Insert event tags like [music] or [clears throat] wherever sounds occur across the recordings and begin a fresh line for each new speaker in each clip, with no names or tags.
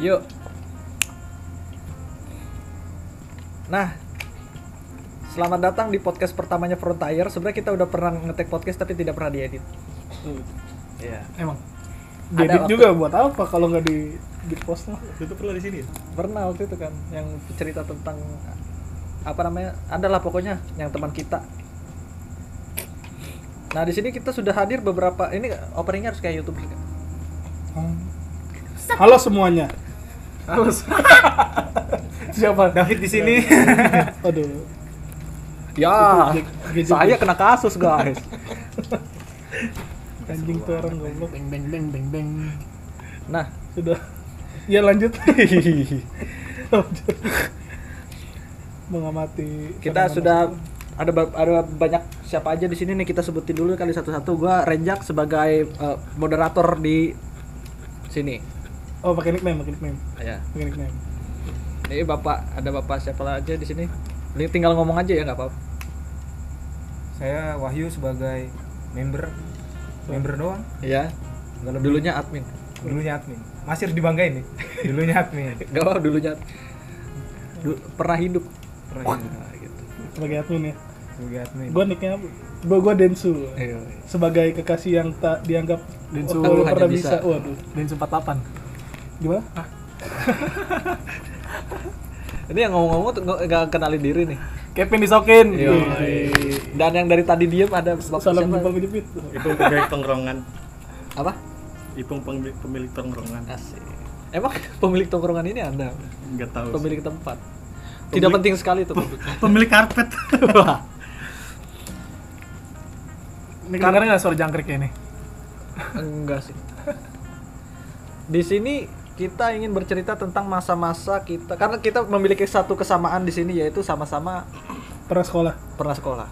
Yuk. Nah, selamat datang di podcast pertamanya Frontier. Sebenarnya kita udah pernah ngetek podcast tapi tidak pernah diedit. Iya.
Emang.
Ada
Diedit
waktu-
juga buat apa kalau nggak di di post lah.
Itu perlu di sini. ya?
Pernah waktu itu kan yang cerita tentang apa namanya? Adalah pokoknya yang teman kita. Nah, di sini kita sudah hadir beberapa ini openingnya harus kayak YouTuber. kan?
Hmm. Halo semuanya.
Halo.
[laughs] Siapa?
David di sini.
[laughs] Aduh.
Ya,
Itu gadget- gadget-
saya kena kasus, guys.
Anjing tuh orang goblok.
Beng beng beng beng beng.
[laughs] Nah,
Sudah. Ya lanjut. Lanjut. Mengamati.
kita
fenomena
sudah ada ba- ada banyak siapa aja di sini nih kita sebutin dulu kali satu-satu. Gua Renjak sebagai eh, moderator di sini.
sekarang. Oh pakai nickname, pakai nickname,
Ya.
pakai nickname.
Ini Bapak ada Bapak siapa aja di sini? Ini tinggal ngomong aja ya nggak apa-apa.
Saya Wahyu sebagai member member doang.
Iya.
Nggak lebih.
Dulunya admin.
Dulunya admin. Masih harus dibanggain nih. Dulunya admin.
Gak apa dulunya du- pernah hidup.
Pernah ini,
Nah, gitu.
Sebagai admin ya.
sebagai admin.
Gue nicknya apa? Gue gue Densu.
Iya.
Sebagai kekasih yang tak dianggap
Densu
oh,
hanya
pernah
bisa.
bisa. Waduh.
Dan sempat lapan.
Gimana?
Ini yang ngomong-ngomong tuh nggak- nggak kenalin diri nih.
Kevin disokin.
Yoi. Dan yang dari tadi diem ada Bapak
Salam
siapa?
jumpa menjepit.
Ipung pemilik tongkrongan.
Apa?
Ipung pemilik, pemilik tongkrongan.
Asik. Emang pemilik tongkrongan ini Anda?
Enggak tahu. sih.
Pemilik tempat. Tidak penting sekali itu.
Pemilik karpet.
Ini kedengeran nggak suara jangkrik ini?
Enggak sih. Di sini kita ingin bercerita tentang masa-masa kita karena kita memiliki satu kesamaan di sini yaitu sama-sama
Pernah sekolah.
pernah sekolah.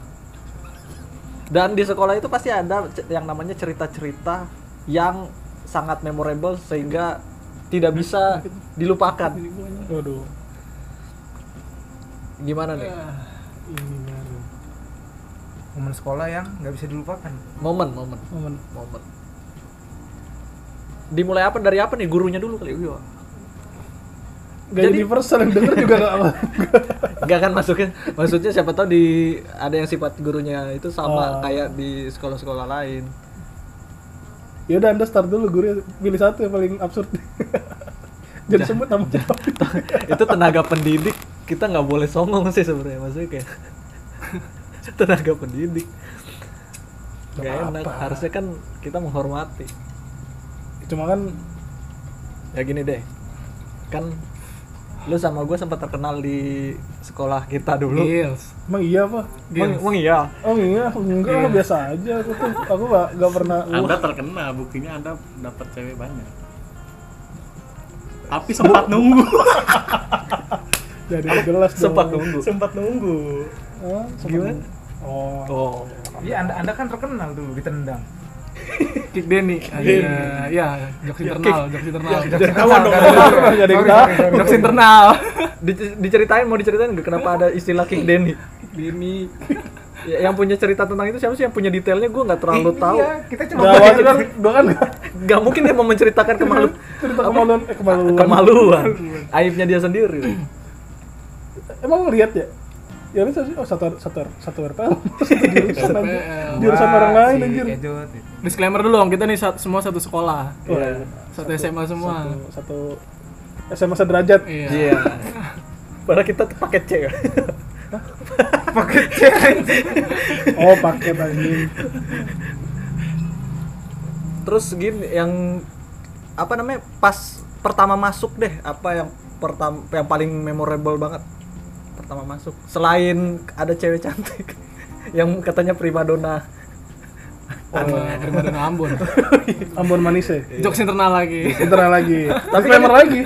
Dan di sekolah itu pasti ada ce- yang namanya cerita-cerita yang sangat memorable sehingga tidak bisa dilupakan.
Waduh.
Gimana nih?
Ini baru.
Momen sekolah yang nggak bisa dilupakan.
Momen, momen.
Momen.
momen dimulai apa dari apa nih gurunya dulu kali iya
Gak
Jadi-
universal yang denger juga gak apa.
nggak kan masuknya maksudnya siapa tahu di ada yang sifat gurunya itu sama
Oh.
kayak di sekolah-sekolah lain [laughs]
Yaudah Ya anda start dulu guru pilih satu yang paling absurd. [laughs] Jangan sebut namanya.
itu tenaga pendidik kita nggak boleh songong sih sebenarnya maksudnya kayak [laughs] tenaga pendidik nggak
Nggak
enak
apa-apa.
harusnya kan kita menghormati
[laughs] Cuma kan
ya gini deh kan lu sama gue sempat terkenal di sekolah kita dulu
Gils.
emang iya apa?
emang, emang iya
Oh iya, enggak
Iya.
biasa aja aku tuh aku gak, gak pernah
[laughs] Anda terkena, buktinya Anda dapat cewek banyak. Tapi sempat nunggu.
jadi jelas dong.
sempat nunggu
sempat nunggu.
Hah? Sempat
Gimana?
nunggu. Oh,
oh
Iya, anda, anda kan terkenal dulu ditendang.
Kick Denny. Iya, ya, jokes internal, jokes internal, jokes
ketahuan dong. Gak ada yang tahu.
internal. Jokes internal.
Dic- diceritain mau diceritain nggak kenapa ada istilah King Denny Denny Ya, yang punya cerita tentang itu siapa sih yang punya detailnya gue nggak terlalu
Ih,
tahu
Iya, kita cuma
Gak awalnya kan, gua kan
nggak mungkin dia mau menceritakan kemalu
cerita kemaluan, eh kemaluan.
kemaluan aibnya dia sendiri
Emang lihat ya? Ya lu sih, oh satu satu satu RPL. [laughs] Satu jurusan anjir.
RPL.
Jurusan orang lain anjir.
[laughs] Disclaimer dulu dong, kita nih sat- semua satu sekolah.
Wah,
Iya.
Satu SMA semua.
satu- Satu SMA sederajat.
Iya.
iya padahal kita tuh pakai C ya
Pakai cewek.
Oh, paket anjing.
terus gini yang apa namanya pas pertama masuk deh apa yang pertama yang paling memorable banget pertama masuk selain ada cewek cantik [laughs] yang katanya primadona
Oh, Primadona [laughs] Ambon.
Ambon manis ya.
Jokes internal lagi.
Internal lagi. Disclaimer lagi.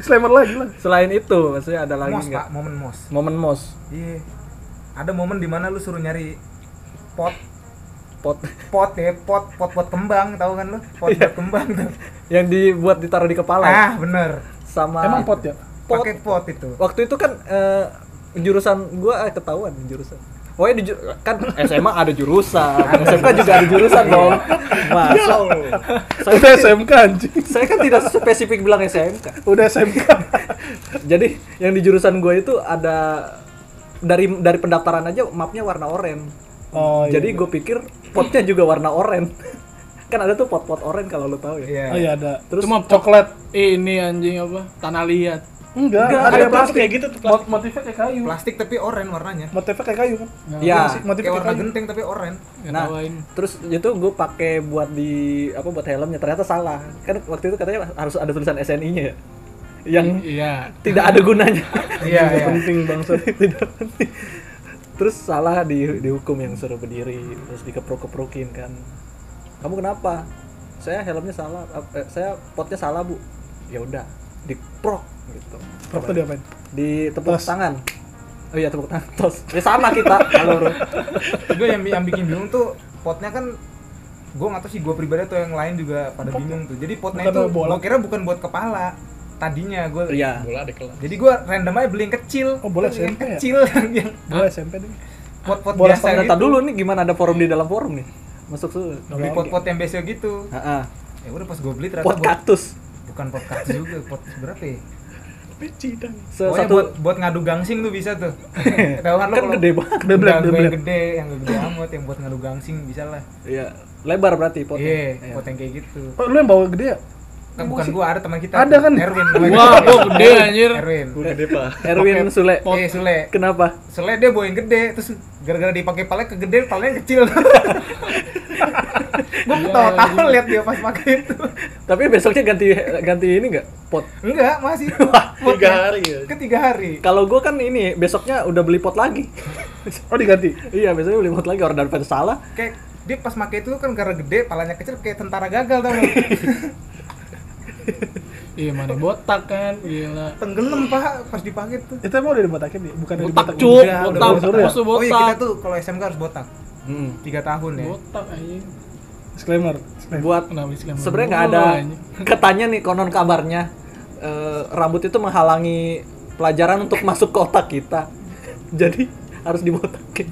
Disclaimer lagi lah.
selain itu maksudnya ada lagi
Mos, Pak.
nggak
Momen mos.
momen mos
Iya. Ada momen dimana lu suruh nyari pot
pot [laughs]
pot ya pot pot pot kembang tahu kan lu pot pot kembang tuh
yang dibuat ditaruh di kepala ya,
ah bener
sama
Emang pot ya?
Pot.
pakai pot itu
waktu itu kan eh, jurusan gua eh, ketahuan jurusan Oh ya di ju- kan SMA ada jurusan, SMK juga ada jurusan dong. Masa saya,
Udah SMK anjing.
saya kan tidak spesifik bilang SMK.
Udah SMK.
Jadi yang di jurusan gue itu ada dari dari pendaftaran aja mapnya warna oranye.
Oh, iya.
Jadi gue pikir potnya juga warna oranye. kan ada tuh pot-pot oranye kalau lo tahu ya.
Iya.
Oh iya ada.
Terus
Cuma coklat ini anjing apa? Tanah liat.
Enggak,
Enggak,
ada,
ada
plastik.
kayak gitu tuh
Mot motifnya kayak kayu.
Plastik tapi oranye warnanya.
Motifnya kayak kayu kan?
Ya.
Iya sih, Motifnya
Kayak
kayak
warna
kayu.
genting tapi oranye.
Nah,
Ketawain.
terus itu gue pakai buat di apa buat helmnya ternyata salah. Kan waktu itu katanya harus ada tulisan SNI-nya ya. Yang
Iya.
tidak ada gunanya.
Iya,
Nggak penting bangsa.
tidak penting. Terus salah di dihukum yang suruh berdiri, terus dikeprok-keprokin kan. Kamu kenapa? Saya helmnya salah, ap- eh, saya potnya salah, Bu. Ya udah, diprok gitu.
Prok tuh diapain?
Di tepuk
Tos.
tangan. Oh iya tepuk tangan tos. Ya sama kita kalau lu.
Gue yang yang bikin bingung tuh potnya kan gue nggak tahu sih gue pribadi atau yang lain juga pada bingung tuh. Jadi potnya
Bukan
itu
bola.
gue kira bukan buat kepala. Tadinya gue
Iya.
bola di kelas
Jadi gue random aja beli yang kecil.
Oh, bola
yang
SMP ya?
kecil [laughs] yang, yang
Gue SMP deh.
pot-pot
Bola
biasa
standar
gitu.
dulu nih gimana ada forum di dalam forum nih. Masuk dulu.
Beli pot-pot yang biasa gitu.
Heeh.
Ya udah pas gue beli ternyata
Pot
buat-
kaktus.
bukan pot kaktus juga, pot berapa ya?
peci dan
Se-
Pokoknya
satu
buat buat ngadu gangsing tuh bisa
[laughs]
tuh. Tahu kan lo
kan
kalau
gede banget.
Udah black,
Udah
udah
gua yang
black.
gede, yang gak gede amat, yang buat ngadu gangsing bisa lah.
Iya. Lebar berarti potnya.
Iya,
Iya.
pot yang kayak gitu.
Oh, lu yang bawa gede ya?
Kan bukan gua, ada teman kita.
Ada kan?
Erwin.
Wah, gua gede anjir.
Erwin.
gue gede pak
Erwin Sule.
Eh, Sule.
Kenapa?
Sule dia bawa yang gede, terus gara-gara dipakai palanya kegedean, palanya
[laughs]
kecil. gua
Iya,
ketawa-tawa lihat dia pas pakai itu.
Tapi besoknya ganti ganti ini enggak? Pot.
Enggak, masih.
[laughs]
tiga hari ya
Ketiga hari.
Kalau gue kan ini besoknya udah beli pot lagi.
Oh diganti.
iya, besoknya beli pot lagi orang daripada salah.
Kayak dia pas pakai itu kan gara gede, palanya kecil kayak tentara gagal tau
[laughs]
nggak?
Iya mana botak kan, gila.
Tenggelam pak pas dipakai tuh.
Itu emang udah dibatakin ya? Bukan dari
Botak
batak.
cuk,
udah,
botak,
udah suruh ya?
musuh
Oh iya kita
botak.
tuh kalau SMK harus botak.
Hmm.
Tiga tahun ya.
Botak anjing.
Disclaimer. disclaimer.
Buat
Nah,
Kenapa Islam?
sebenarnya nggak ada katanya nih konon kabarnya eh, rambut itu menghalangi pelajaran untuk masuk ke otak kita. Jadi harus dibotakin.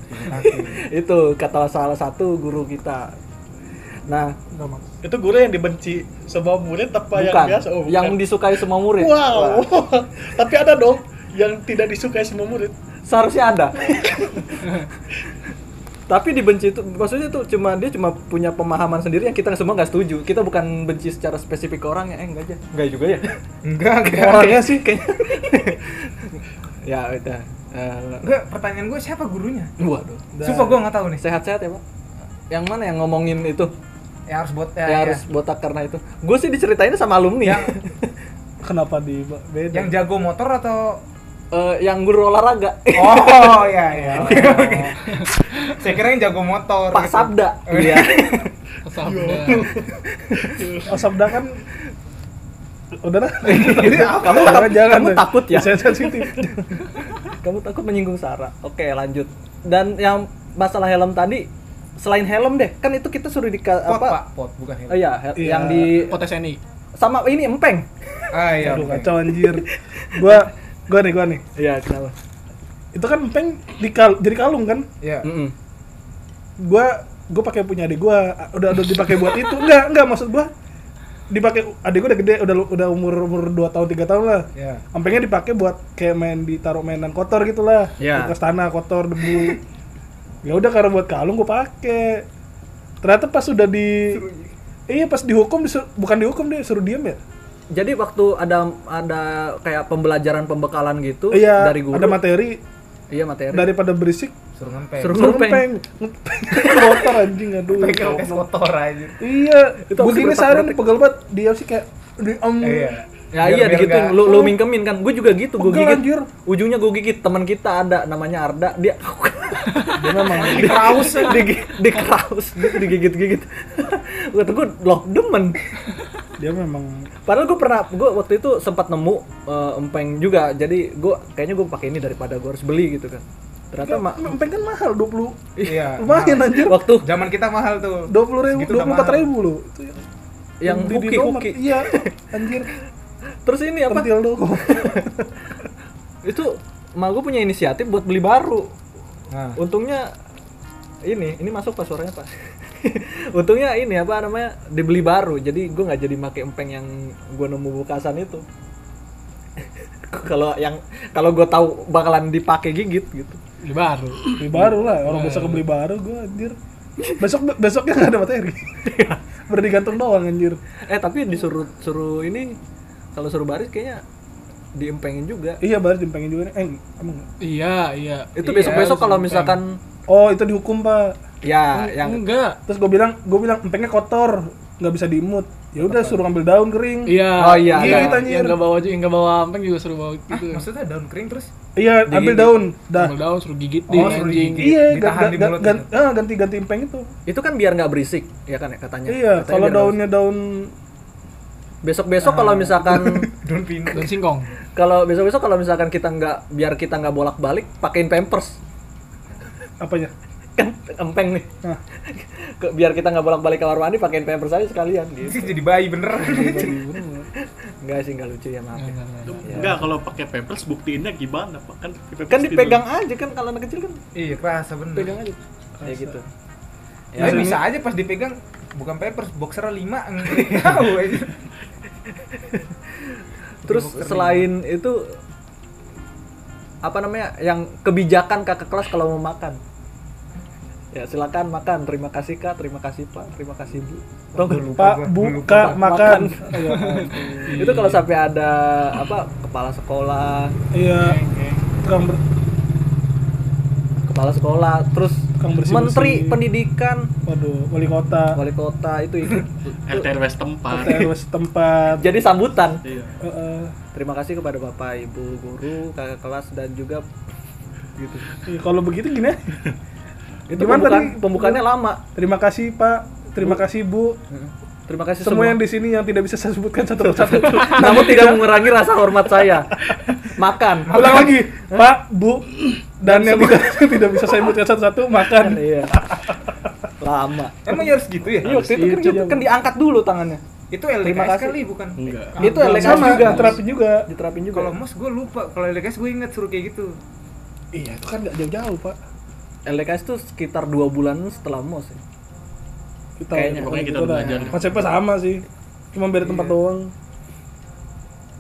itu kata salah satu guru kita. Nah,
Enggak mau.
itu guru yang dibenci semua murid apa yang
bukan.
biasa oh bukan.
yang disukai semua murid.
wow [laughs] tapi ada dong yang tidak disukai semua murid
seharusnya ada tapi dibenci itu maksudnya tuh cuma dia cuma punya pemahaman sendiri yang kita semua nggak setuju kita bukan benci secara spesifik ke orangnya eh enggak aja enggak juga [laughs] ya
Enggak, enggak.
orangnya sih kayaknya [laughs] ya udah Eh,
Enggak, pertanyaan gue siapa gurunya?
waduh
Sumpah gue nggak tahu nih.
sehat-sehat ya pak yang mana yang ngomongin itu
Ya harus bot ya,
yang
ya.
harus botak karena itu gue sih diceritain sama alumni [laughs] yang,
Yang-
Kenapa di beda?
Yang jago motor
[laughs]
atau
Eh, yang guru olahraga
Oh iya iya. Oke, oke. Saya kira yang jago
[laughs]
motor.
Pak
gitu.
Sabda
Oh,
[laughs] iya
Kesabda.
[laughs]
Oh, sabda kan udah
[laughs]
lah.
kamu
Jangan, jangan
kamu
deh.
takut ya
Saya
[laughs]
sensitif.
Kamu takut menyinggung Sarah. Oke, lanjut. Dan yang masalah helm tadi, selain helm deh, kan itu kita suruh di ka-
Pot,
apa?
Pak, pot bukan ya? helm.
Oh iya, hel-
Iya.
yang di
Pot SNI.
sama ini empeng.
Ah iya.
Aduh
oke.
kacau anjir. Gua gua nih, gua nih.
Iya, kenapa?
Itu kan empeng di kal- jadi kalung kan?
Iya.
Gua gua pakai punya adik gua. Ah, Udah udah dipakai buat itu. Enggak, enggak maksud gua dipakai adik gua udah gede, udah udah umur umur 2 tahun 3 tahun lah.
Iya.
Ampengnya dipakai buat kayak main ditaruh mainan kotor gitu lah.
Iya.
Bekas tanah kotor, debu. ya udah karena buat kalung gue pakai. Ternyata pas sudah di Iya pas dihukum disu- bukan dihukum deh suruh diem ya.
Jadi waktu ada ada kayak pembelajaran pembekalan gitu
Iya
dari guru.
ada materi
iya, materi.
daripada berisik
Suruh ngempeng.
Suruh-
suruh
Ngepeng.
ngepeng ngepeng [laughs] kotor anjing aduh.
Pakai kaos kotor aja.
Iya
Itu harus
begini
bertak-
sehari nih
bertak-
pegel banget dia sih kayak di om.
Iya.
Ya
Biar-
iya
biar
digituin,
nggak-
lu, lu mingkemin kan. Gue juga gitu, gue
Pegel,
gigit.
Oh. anjir.
Ujungnya gue gigit, teman kita ada namanya Arda, dia
[laughs] Dia memang
di kraus [laughs] di, di kraus gitu digigit-gigit. [laughs] Gue tuh gue loh demen.
dia memang
Padahal gue pernah, gue waktu itu sempat nemu eh, empeng juga, jadi gue kayaknya gue pakai ini daripada gue harus beli gitu kan. Ternyata ma-
empeng kan mahal 20
Iya.
Nah,
lumayan anjir
waktu
Zaman kita mahal tuh.
20 ribu,
Segitu
24
udah mahal.
ribu loh Itu ya. yang-
yang
di- di
kuki
Domat.
kuki,
Iya, anjir
terus ini apa? [laughs]
Pentil dong
Itu emak gue punya inisiatif buat beli baru.
Nah.
untungnya ini ini masuk pas suaranya pas [laughs] untungnya ini apa namanya dibeli baru jadi gue nggak jadi pakai empeng yang gue nemu bekasan itu [laughs] kalau yang kalau gue tahu bakalan dipakai gigit gitu
Beli baru.
Beli baru lah, orang besok beli baru gue anjir. Besok besoknya nggak ada materi. [laughs] Berdi gantung doang anjir.
eh tapi disuruh suruh ini kalau suruh baris kayaknya diempengin juga
Iya baru dimpengin juga nih. Eh, emang nggak?
Iya, iya.
itu
Iya,
besok besok
harus
kalau
empeng.
misalkan
Oh itu dihukum pak.
ya yang
Enggak.
Terus gue bilang gue bilang empengnya kotor, nggak bisa diimut. Ya udah suruh ambil daun kering.
Iya.
Oh,
Nah,
iya,
Yang-
iya.
Yang enggak bawa yang enggak bawa ampeng juga suruh bawa
Ah,
gitu.
maksudnya daun kering terus
Iya ambil daun. Dah.
Ambil daun suruh gigit
Oh,
deh
suruh
anjing.
digigit.
Iya,
Ditahan
ganti
di mulut
ganti, ganti ganti ah, empeng itu.
itu kan biar nggak berisik ya kan ya katanya
Iya, kalau daunnya daun
besok besok kalau misalkan
daun pintu
Dan singkong.
kalau besok besok kalau misalkan kita nggak biar kita nggak bolak balik pakein pampers
apanya?
kan empeng nih
Hah.
[laughs] Ke- biar kita nggak bolak balik kamar mandi pakein pampers aja sekalian gitu
Sih, jadi bayi bener
iya, nggak sih nggak lucu ya maaf ya.
Enggak, enggak, enggak.
Iya. Enggak, kalau pakai pampers buktiinnya gimana, Pak? Kan, pakai pampers
kan
tidur.
dipegang aja kan kalau anak kecil kan
iya kerasa bener
pegang aja Iya, kayak gitu
Ya,
Maksudnya-
bisa aja pas dipegang bukan papers, boxer 5
[laughs]
tahu aja.
terus selain itu apa namanya yang kebijakan kakak kelas kalau mau makan ya silakan makan terima kasih kak terima kasih pak terima kasih bu Tau nggak?
Pak buka makan.
itu kalau sampai ada apa kepala sekolah
Iya. Tukang ber-
kepala sekolah terus
Tukang bersih-bersih.
menteri pendidikan
waduh, wali kota.
wali kota itu ikut
RT RW setempat.
RW setempat.
jadi sambutan
Iya.
Heeh.
terima kasih kepada bapak ibu guru kakak kelas dan juga gitu
Iya, kalau begitu gini. [laughs] aja.
itu
Gimana
pembukaan,
tadi?
pembukaannya lama
Terima kasih Pak, terima kasih Bu,
terima kasih
semua yang di [laughs] sini yang tidak bisa saya sebutkan satu persatu.
[laughs] namun tidak mengurangi rasa hormat saya makan
[laughs] [laughs] Ulang lagi, Pak, Bu, dan yang tidak, [laughs] tidak bisa saya sebutkan satu-satu makan.
iya lama
Emang ya harus gitu ya?
Iya, waktu itu kan, gitu, kan diangkat dulu tangannya
Itu
Terima
LDKS
kasih.
kali bukan?
Enggak.
Ah,
Itu LDKS
Sama,
juga.
diterapin juga.
diterapin juga
Kalau mos gue lupa, kalau LDKS gue inget suruh kayak gitu.
Iya, itu kan nggak jauh-jauh, Pak.
LDKS itu sekitar dua bulan setelah mos ya.
Kita,
Kayaknya.
Pokoknya kita
gitu
udah
lah.
belajar.
Konsepnya sama sih, cuma beda tempat doang.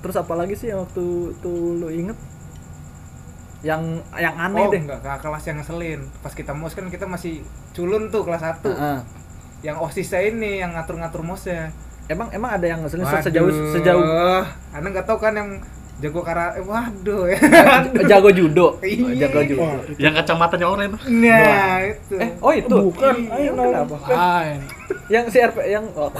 terus apalagi sih yang waktu itu lu inget yang yang aneh
oh,
deh
enggak, kakak kelas yang ngeselin. Pas kita mos kan kita masih culun tuh kelas 1.
Heeh.
Yang osisnya ini yang ngatur-ngatur mosnya.
emang emang ada yang ngeselin
Waduh.
se- sejauh sejauh
Anda nggak tahu kan yang jago kara eh, waduh
[laughs]
ya.
[laughs] jago judo
Iya.
Oh, jago judo
Wah,
Yang kacamatanya oranye tuh.
Nah, itu.
eh oh itu
bukan.
Iya,
Ayo,
kenapa?
Lain.
yang si RP yang oh,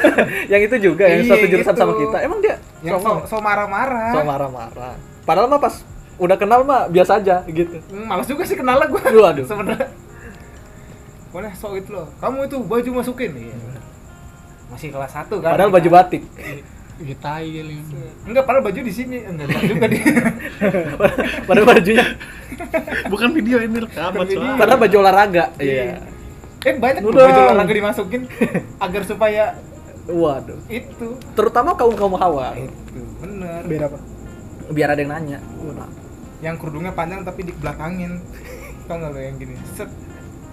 [laughs] yang itu juga yang
Iya,
satu jurusan
itu.
sama kita emang dia
yang so, so marah-marah.
so marah-marah padahal mah pas udah kenal mah biasa aja gitu
Hmm, Males juga sih kenalnya gue.
Waduh.
[laughs] Sebenernya. Boleh sok itu loh. Kamu itu baju masukin. Iya. Masih kelas 1 kan.
padahal baju batik [laughs]
Iya tai kali.
Enggak, padahal baju di sini. Enggak baju juga
[laughs]
di.
padahal bajunya
Bukan video ini rekaman
Bukan video.
soalnya.
padahal baju olahraga iya
Eh banyak tuh
Udah.
baju olahraga dimasukin agar supaya
waduh
itu.
terutama kaum kaum hawa
Bener.
Beda, Pak.
biar ada yang nanya
Yang kerudungnya panjang tapi di belakangin. Tau nggak lo yang gini? Set.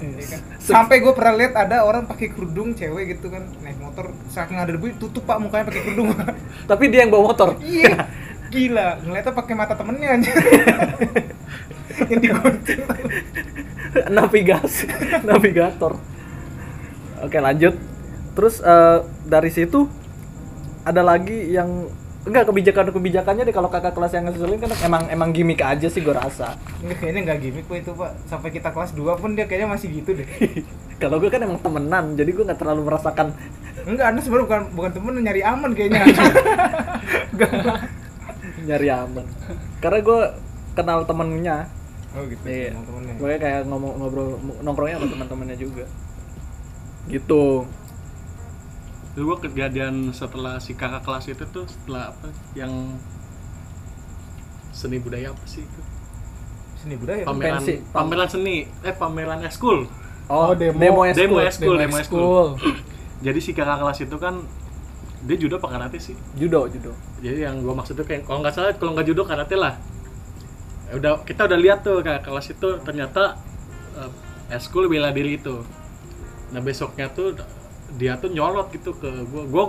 Iya.
ya kan? Sampai gue pernah lihat ada orang pakai kerudung cewek gitu kan naik motor saking ada debu tutup pak mukanya pakai kerudung. [laughs]
tapi dia yang bawa motor [laughs]
Iya. Gila, ngeliatnya pakai mata temennya aja. yang digonceng.
navigasi [laughs] navigator oke lanjut terus eh, dari situ ada lagi yang enggak kebijakan kebijakannya deh kalau kakak kelas yang ngeselin kan emang emang gimmick aja sih gue rasa
Ini kayaknya nggak gimmick pak itu pak. Sampai kita kelas 2 pun dia kayaknya masih gitu deh.
kalau gue kan emang temenan jadi gue nggak terlalu merasakan [laughs]
Enggak, anda sebenarnya bukan bukan temen nyari aman kayaknya.
nyari aman karena gue kenal temennya
oh gitu.
Iya.
temen-temennya.
Makanya kayak ngomong ngobrol nongkrongnya sama teman-temannya juga. Gitu.
Dulu gua kejadian setelah si kakak kelas itu tuh setelah apa? Yang seni budaya apa sih itu?
Seni budaya.
Pam-
Pameran
Pensi.
pameran seni, eh pameran eskul.
Oh,
Oh, demo.
Demo
eskul.
eskul,
Demo
demo eskul.
school.
Jadi si kakak kelas itu kan dia judo apa karate sih?
Judo, judo.
Jadi yang gua maksud tuh kayak kalau Eh, nggak salah kalau nggak judo karate lah. Ya udah kita udah lihat tuh kakak kelas itu ternyata eh, eskul bela diri itu nah besoknya tuh dia tuh nyolot gitu ke gua gua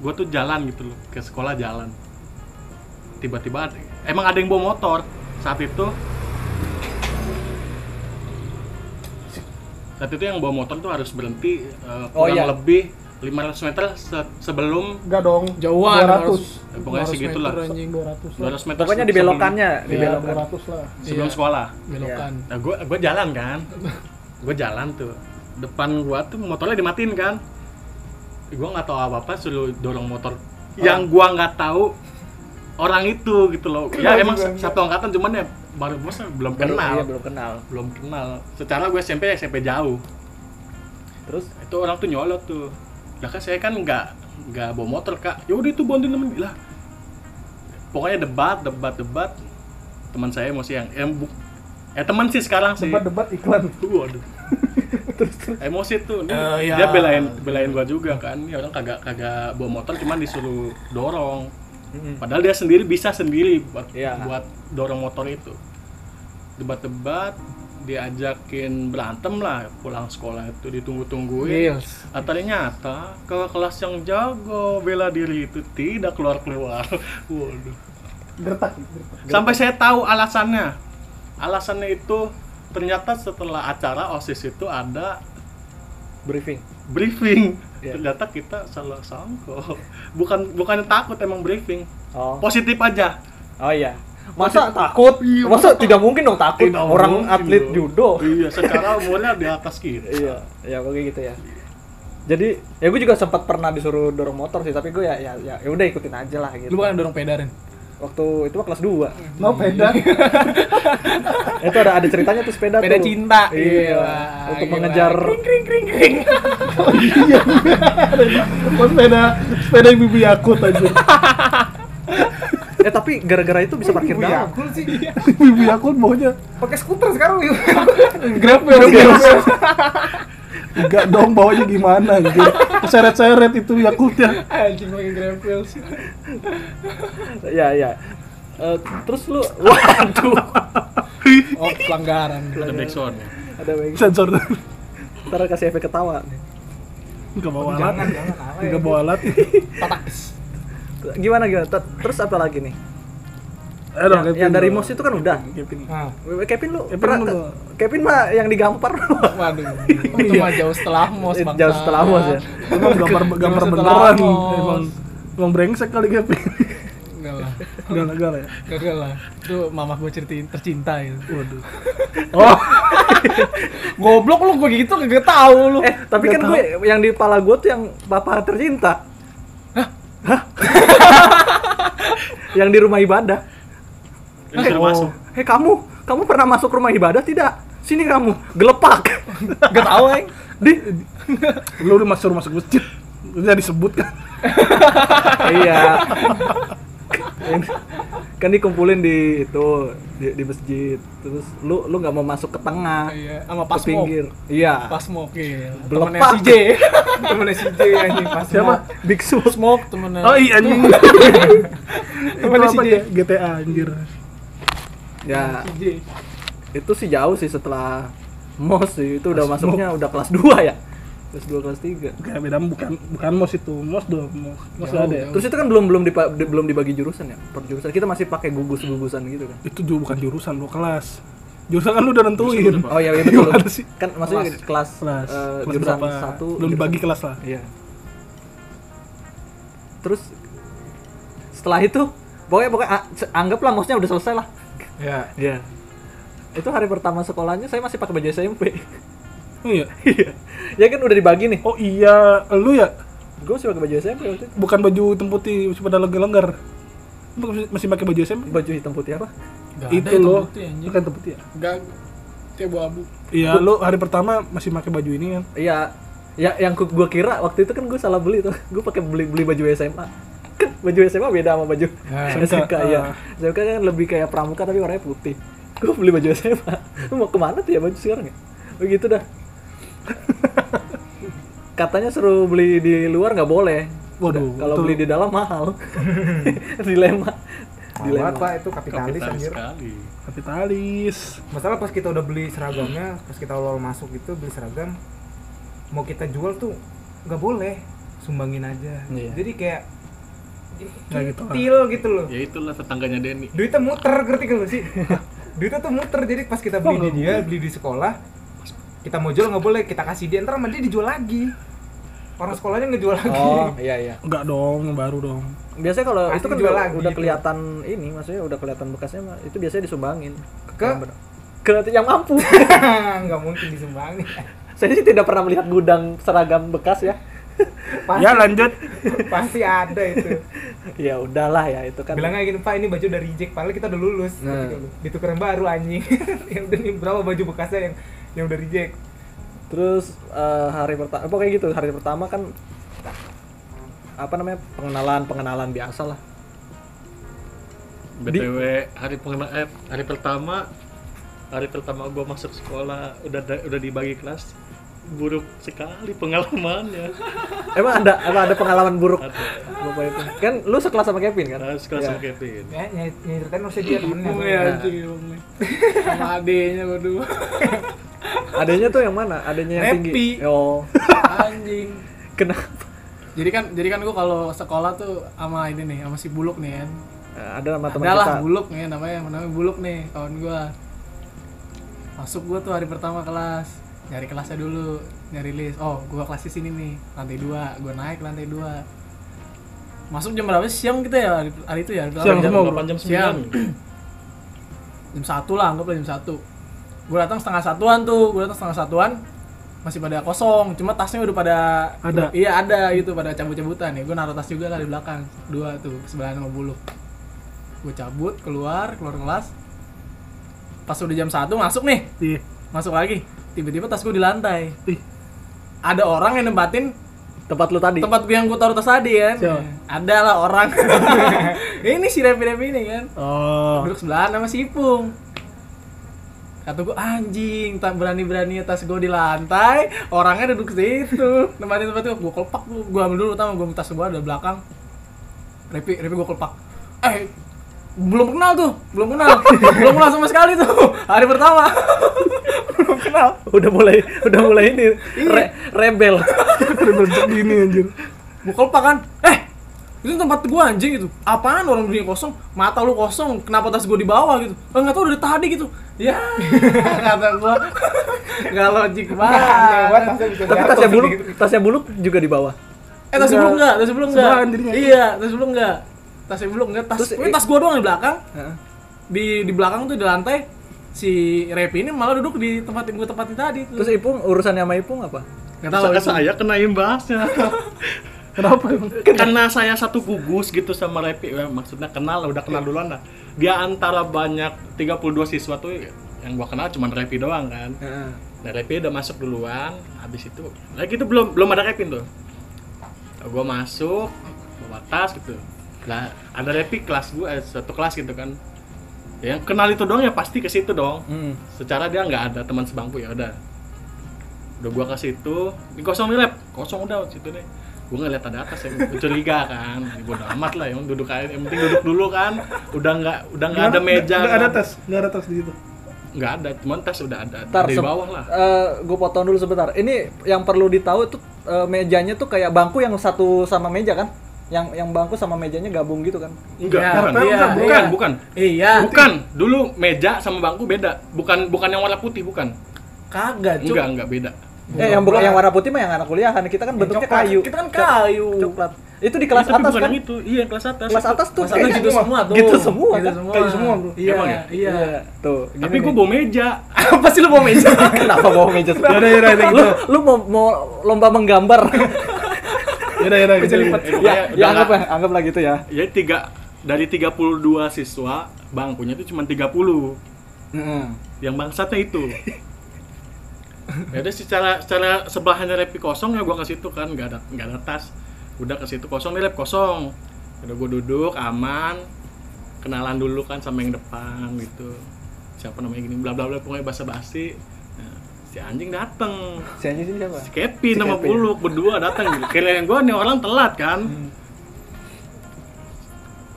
gua tuh jalan gitu loh ke sekolah jalan tiba-tiba ada- emang ada yang bawa motor saat itu saat itu yang bawa motor tuh harus berhenti eh, kurang
Oh, iya.
lebih 500 meter se- sebelum
Enggak dong.
Jauhan,
200.
Eh, pokoknya
200
segitulah.
meter, anjing.
200 lah.
200 meter
Pokoknya
se-
di belokannya, di
Ya,
belokan.
200 lah.
sebelum, sebelum
Iya.
sekolah
belokan
nah gue gue jalan kan gue jalan tuh depan gua tuh motornya dimatiin kan gue nggak tahu apa apa suruh dorong motor
Oh.
yang gua nggak tahu orang itu gitu loh ya emang satu angkatan cuman ya baru gua se- belum
Baru-
kenal
iya, belum kenal.
belum kenal secara gue SMP SMP jauh
Terus
itu orang tuh nyolot tuh lah kan saya kan nggak nggak bawa motor kak yaudah itu bantuin temen lah pokoknya debat debat debat teman saya emosi yang eh, bu- eh teman sih sekarang sih
Debat-debat iklan.
Waduh. Emosi tuh. Dia,
Eh, iya.
dia belain belain gua juga kan. Ini orang kagak kagak bawa motor cuman disuruh dorong.
Hmm.
Padahal dia sendiri bisa sendiri buat
Iya.
buat dorong motor itu. Debat-debat diajakin berantem lah pulang sekolah itu ditunggu-tungguin.
Yes.
Ah, ternyata ke kelas yang jago bela diri itu tidak keluar-keluar. [laughs] Waduh.
Gertak.
Sampai saya tahu alasannya. Alasannya itu ternyata setelah acara OSIS itu ada
briefing.
briefing.
Iya.
Ternyata kita salah sangko. Bukan bukan takut emang briefing.
Oh.
Positif aja.
Oh iya. Masa takut? Iya, Masa tidak mungkin dong takut
Tidak
orang
mungkin
atlet
dong.
judo.
Iya, secara umurnya di atas kita.
iya, ya kayak gitu ya. Jadi, ya gue juga sempat pernah disuruh dorong motor sih, tapi gue ya ya ya ya udah ikutin aja lah gitu.
Lu bukan yang dorong pedarin.
Waktu itu mah kelas 2.
Iya. No peda.
itu ada ada ceritanya tuh sepeda
Peda
tuh.
cinta.
Iya.
Gila,
Untuk
gila.
mengejar
Kring, kring, kring, kring.
Mas sepeda sepeda ibu Yakut aja. [laughs]
Eh tapi gara-gara itu bisa parkir
Ibu
dalam.
Yakul sih.
Ibu Yakut maunya
Pakai skuter sekarang Ibu.
Grab ya.
enggak dong bawanya gimana gitu. Seret-seret itu Yakultnya.
Anjing pakai Grab Wheels.
Iya, iya. Eh, terus lu waduh
Oh, pelanggaran.
Iya.
Ada backsound.
ada baik
Sensor.
ntar kasih efek ketawa nih
Enggak bawa alat.
Jangan, jangan apa ya.
Enggak bawa alat.
gimana gimana Ter- terus apa lagi nih
Eh, dong,
yang,
Kevin.
yang dari mos itu kan udah
Kevin.
Nah,
Kevin lu
Kevin
pernah
lu.
Kevin mah yang digampar
waduh. Itu mah jauh setelah mos,
Eh,
bangsa.
jauh setelah mos ya.
Emang gambar
Gambar
gambar
setelah
beneran.
mos.
Emang emang brengsek kali Kevin.
Enggak lah.
Gagal-gagal ya.
Kagak lah. Itu mamah gue ceritain tercinta ya. itu. [laughs]
Waduh. Oh,
Goblok lu gue gitu kagak tahu lu.
eh tapi kan gue yang di pala gue tuh yang bapak tercinta Hah? [laughs] yang di rumah ibadah
Ini suruh masuk.
eh kamu kamu pernah masuk rumah ibadah tidak sini kamu gelepak
Gak tahu aing.
di
lu udah masuk masuk masjid. Udah disebut kan.
iya kan dikumpulin di itu di, di masjid terus lu lu nggak mau masuk ke tengah
Iya, sama
ke
pas
pinggir iya
Pas smoke ya.
Belum
Temennya
pas. [laughs]
CJ.
Temennya CJ anjing pas
Siapa?
biksu
Smoke temennya.
Oh iya anjing. Itu
Temennya
apa
CJ.
ya? GTA anjir.
ya
CJ.
itu sih jauh sih setelah mos sih itu udah masuknya udah kelas 2 ya kelas 2 kelas 3
Kayak beda bukan bukan mos itu, mos dong, mos. Mos
Jauh,
ada ya.
terus itu kan belum belum dipa- di- belum dibagi jurusan ya per jurusan kita masih pakai gugus-gugusan gitu kan
Itu juga bukan jurusan lu kelas. Jurusan kan lu udah nentuin.
Jurusan
oh iya iya, betul
[laughs] Gimana sih?
kan maksudnya kelas kelas,
Kelas.
eh,
kelas
jurusan
berapa?
satu
Belum
jurusan-
dibagi kelas lah.
Iya. Terus setelah itu pokoknya pokoknya a- se- anggaplah mosnya udah selesai lah.
Ya.
Iya. Itu hari pertama sekolahnya saya masih pakai baju SMP.
Oh iya.
[laughs] Iya. ya kan udah dibagi nih.
Oh iya, lu ya
Gue masih pakai baju SMP waktu itu.
bukan baju hitam putih masih pada longgar-longgar. Lu masih- Masih pakai baju SMP?
Baju hitam putih apa?
Nggak ada
itu
hitam
lo.
putih, anjing.
Bukan hitam putih ya?
Enggak. Kayak abu-abu.
Iya, lu hari pertama masih pakai baju ini kan.
Iya. Ya yang gue kira waktu itu kan gue salah beli tuh. Gue pakai beli beli baju SMA. Kan baju SMA beda sama baju [laughs]
Nah.
SMK ya.
Ah.
SMK kan lebih kayak pramuka tapi warnanya putih. Gue beli baju SMA. [laughs] Lu mau kemana tuh ya baju sekarang ya? Begitu dah. [laughs] Katanya suruh beli di luar nggak boleh.
Waduh,
Kalau
[laughs] itu-
beli di dalam mahal. [laughs] Dilema.
Mahal banget pak itu kapitalis
kapitalis
anjir.
sekali
kapitalis
Masalah pas kita udah beli seragamnya, pas kita awal masuk gitu beli seragam, mau kita jual tuh nggak boleh, sumbangin aja.
Iya.
Jadi kayak
Nggak gitu,
til gitu loh.
ya itulah tetangganya Denny
Duitnya muter, ngerti gak lu sih? Duitnya tuh muter, jadi pas kita beli di dia, beli di sekolah, kita mau jual nggak boleh, kita kasih dia, ntar sama dia dijual lagi. Orang sekolahnya ngejual lagi.
oh
[laughs]
iya iya
enggak dong yang baru dong
biasanya kalau
Pasti
itu kan
jual
udah,
lagi
udah
itu.
kelihatan ini maksudnya udah kelihatan bekasnya mah, itu biasanya disumbangin
Ke?
Yang ber- ke yang mampu [laughs]
nggak mungkin disumbangin.
saya sih tidak pernah melihat gudang seragam bekas ya
Pasti,
ya lanjut
[laughs] pasti ada itu.
ya udahlah ya itu kan
bilang aja gini pak ini baju udah reject padahal kita udah lulus
Nah.
gitu. ditukar yang baru anjing [laughs] yang udah nih berapa baju bekasnya yang yang udah reject
terus eh, hari pertama pokoknya gitu hari pertama kan apa namanya pengenalan pengenalan biasa lah
btw hari pengenal eh, hari pertama hari pertama gua masuk sekolah udah da- udah dibagi kelas buruk sekali pengalamannya
emang ada emang ada pengalaman buruk
ada
Bapak itu. kan lu sekelas sama Kevin kan
harus kelas
Iya.
sama Kevin
ya ny- ny- nyeritain harusnya dia temennya
Bung ya anjing Bung
[laughs]
nih. Sama adenya berdua.
adanya tuh yang mana adanya yang
Happy.
tinggi oh [laughs]
Anjing.
kenapa
Jadi kan jadi kan gua kalau sekolah tuh sama ini nih, sama si Buluk nih kan.
Eh, ada sama teman
Ada lah
kita
Buluk nih namanya, namanya Buluk nih kawan gua. Masuk gua tuh hari pertama kelas. Nyari kelasnya dulu, nyari list. Oh, gua kelas di sini nih, lantai 2. Gua naik ke lantai 2. Masuk jam berapa sih? siang kita ya hari, hari itu ya? Hari pertama
Siang
jam-
semua, Bro.
delapan jam sembilan
Siang. jam satu lah anggaplah jam satu gue datang setengah satuan tuh gue datang setengah satuan masih pada kosong cuma tasnya udah pada
Ada.
iya ada gitu pada cabut-cabutan ya gue naruh tas juga lah di belakang dua tuh sebelahan sama bulu gue cabut keluar keluar kelas pas udah jam satu masuk nih
Iya.
masuk lagi tiba-tiba tas gue di lantai
Ih.
ada orang yang nempatin
tempat lu tadi
tempat gue yang gue taruh tas tadi kan
Siapa?
ada lah orang [laughs] ini si Revi-Revi ini kan
oh
duduk sebelahan sama si Ipung kata gue anjing tak berani berani tas gue di lantai orangnya duduk situ tempatin tempat gue gue kelepak gue gue ambil dulu tama gue tas gue ada belakang repi repi gue kelepak eh belum kenal tuh belum kenal belum kenal sama sekali tuh hari pertama belum kenal
udah mulai udah mulai ini
Iya.
re- rebel
berbentuk gini anjir
gue kelepak kan eh itu tempat gue anjing gitu apaan orang dunia kosong mata lu kosong kenapa tas gue di bawah gitu "Eh, nggak tahu dari tadi gitu ya [laughs] kata gue nggak logik
aneh banget
banget
tasnya Ah, bisa
tapi
jatuh
tasnya
sih,
buluk
gitu.
Iya.
tasnya buluk juga di bawah
eh tas sebelum nggak tas sebelum nggak
Sebelahan jadinya.
iya tas sebelum nggak tas sebelum nggak tas
Terus,
ini
i-
tas gue doang di belakang
Heeh.
di di belakang tuh di lantai si Repi ini malah duduk di tempat yang gue tempatin tadi tuh.
terus ipung urusannya sama ipung apa
nggak
Masa
tahu itu.
saya kena
[laughs]
imbasnya
kenapa emang
karena saya satu gugus gitu sama Repi eh, maksudnya kenal lah, udah
Iya.
kenal duluan lah dia antara banyak 32 siswa tuh yang gua kenal cuman Repi doang kan Nah, Repi udah masuk duluan, habis itu lagi itu belum belum ada Kevin tuh. Gue masuk, bawa tas gitu. Nah, ada Repi kelas gue satu kelas gitu kan. Ya, Yang kenal itu doang ya pasti ke situ dong.
Hmm.
Secara dia nggak ada teman sebangku ya udah. Udah gua ke situ, ini kosong nih Rep, kosong udah situ deh. Gue ngeliat ada atas ya, gua curiga kan. Gue udah amat lah, yang duduk aja, yang penting duduk dulu kan. Udah nggak udah nggak ada meja.
nggak ada
kan.
tas nggak ada tas di situ
Nggak ada, cuman tas udah ada
Ntar,
di
sep-
bawah lah.
Eh, gue potong dulu sebentar. Ini yang perlu ditahu itu eh, mejanya tuh kayak bangku yang satu sama meja kan? Yang yang bangku sama mejanya gabung gitu kan?
Enggak,
Iya,
bukan,
iya,
bukan, bukan,
iya.
bukan.
iya
Bukan, dulu meja sama bangku beda. Bukan bukan yang warna putih, bukan.
kagak cuy
Enggak, enggak beda.
Eh yang bukan yang warna putih mah yang anak kuliahan. Kita kan bentuknya
Coklat.
kayu.
kita kan kayu
Coklat. Itu di kelas
Tapi
atas
bukan
kan?
yang itu. Iya, kelas atas.
Kelas atas tuh
Masa lu
kayak
gitu
[laughs]
semua tuh.
Gitu semua
Gitu
kan?
semua.
Kayu semua, bro.
Iya,
Emang ya?
iya. [laughs]
Tuh.
Tapi gue bawa meja.
Apa sih lu bawa meja?
kenapa bawa meja?
ya udah ya udah ya
[laughs]
lu lu mau mau lomba menggambar?
udah ya udah
Meja lipat.
Eh, pokoknya
[laughs] ya,
udah
ya anggaplah
nggak-
anggaplah gitu ya.
Ya tiga dari 32 siswa, bangkunya itu cuma 30. Yang bangsatnya itu. ya udah secara secara sebelahannya repi kosong ya gua ke situ kan nggak ada nggak ada tas udah ke situ kosong nih rep kosong udah gua duduk aman kenalan dulu kan sama yang depan gitu siapa namanya gini bla bla bla pokoknya basa basi nah, si anjing dateng
Si anjing sini siapa?
si Kevin
Si
sama
Kevin.
Buluk berdua datang gitu kirain
Hmm.
gua nih orang telat kan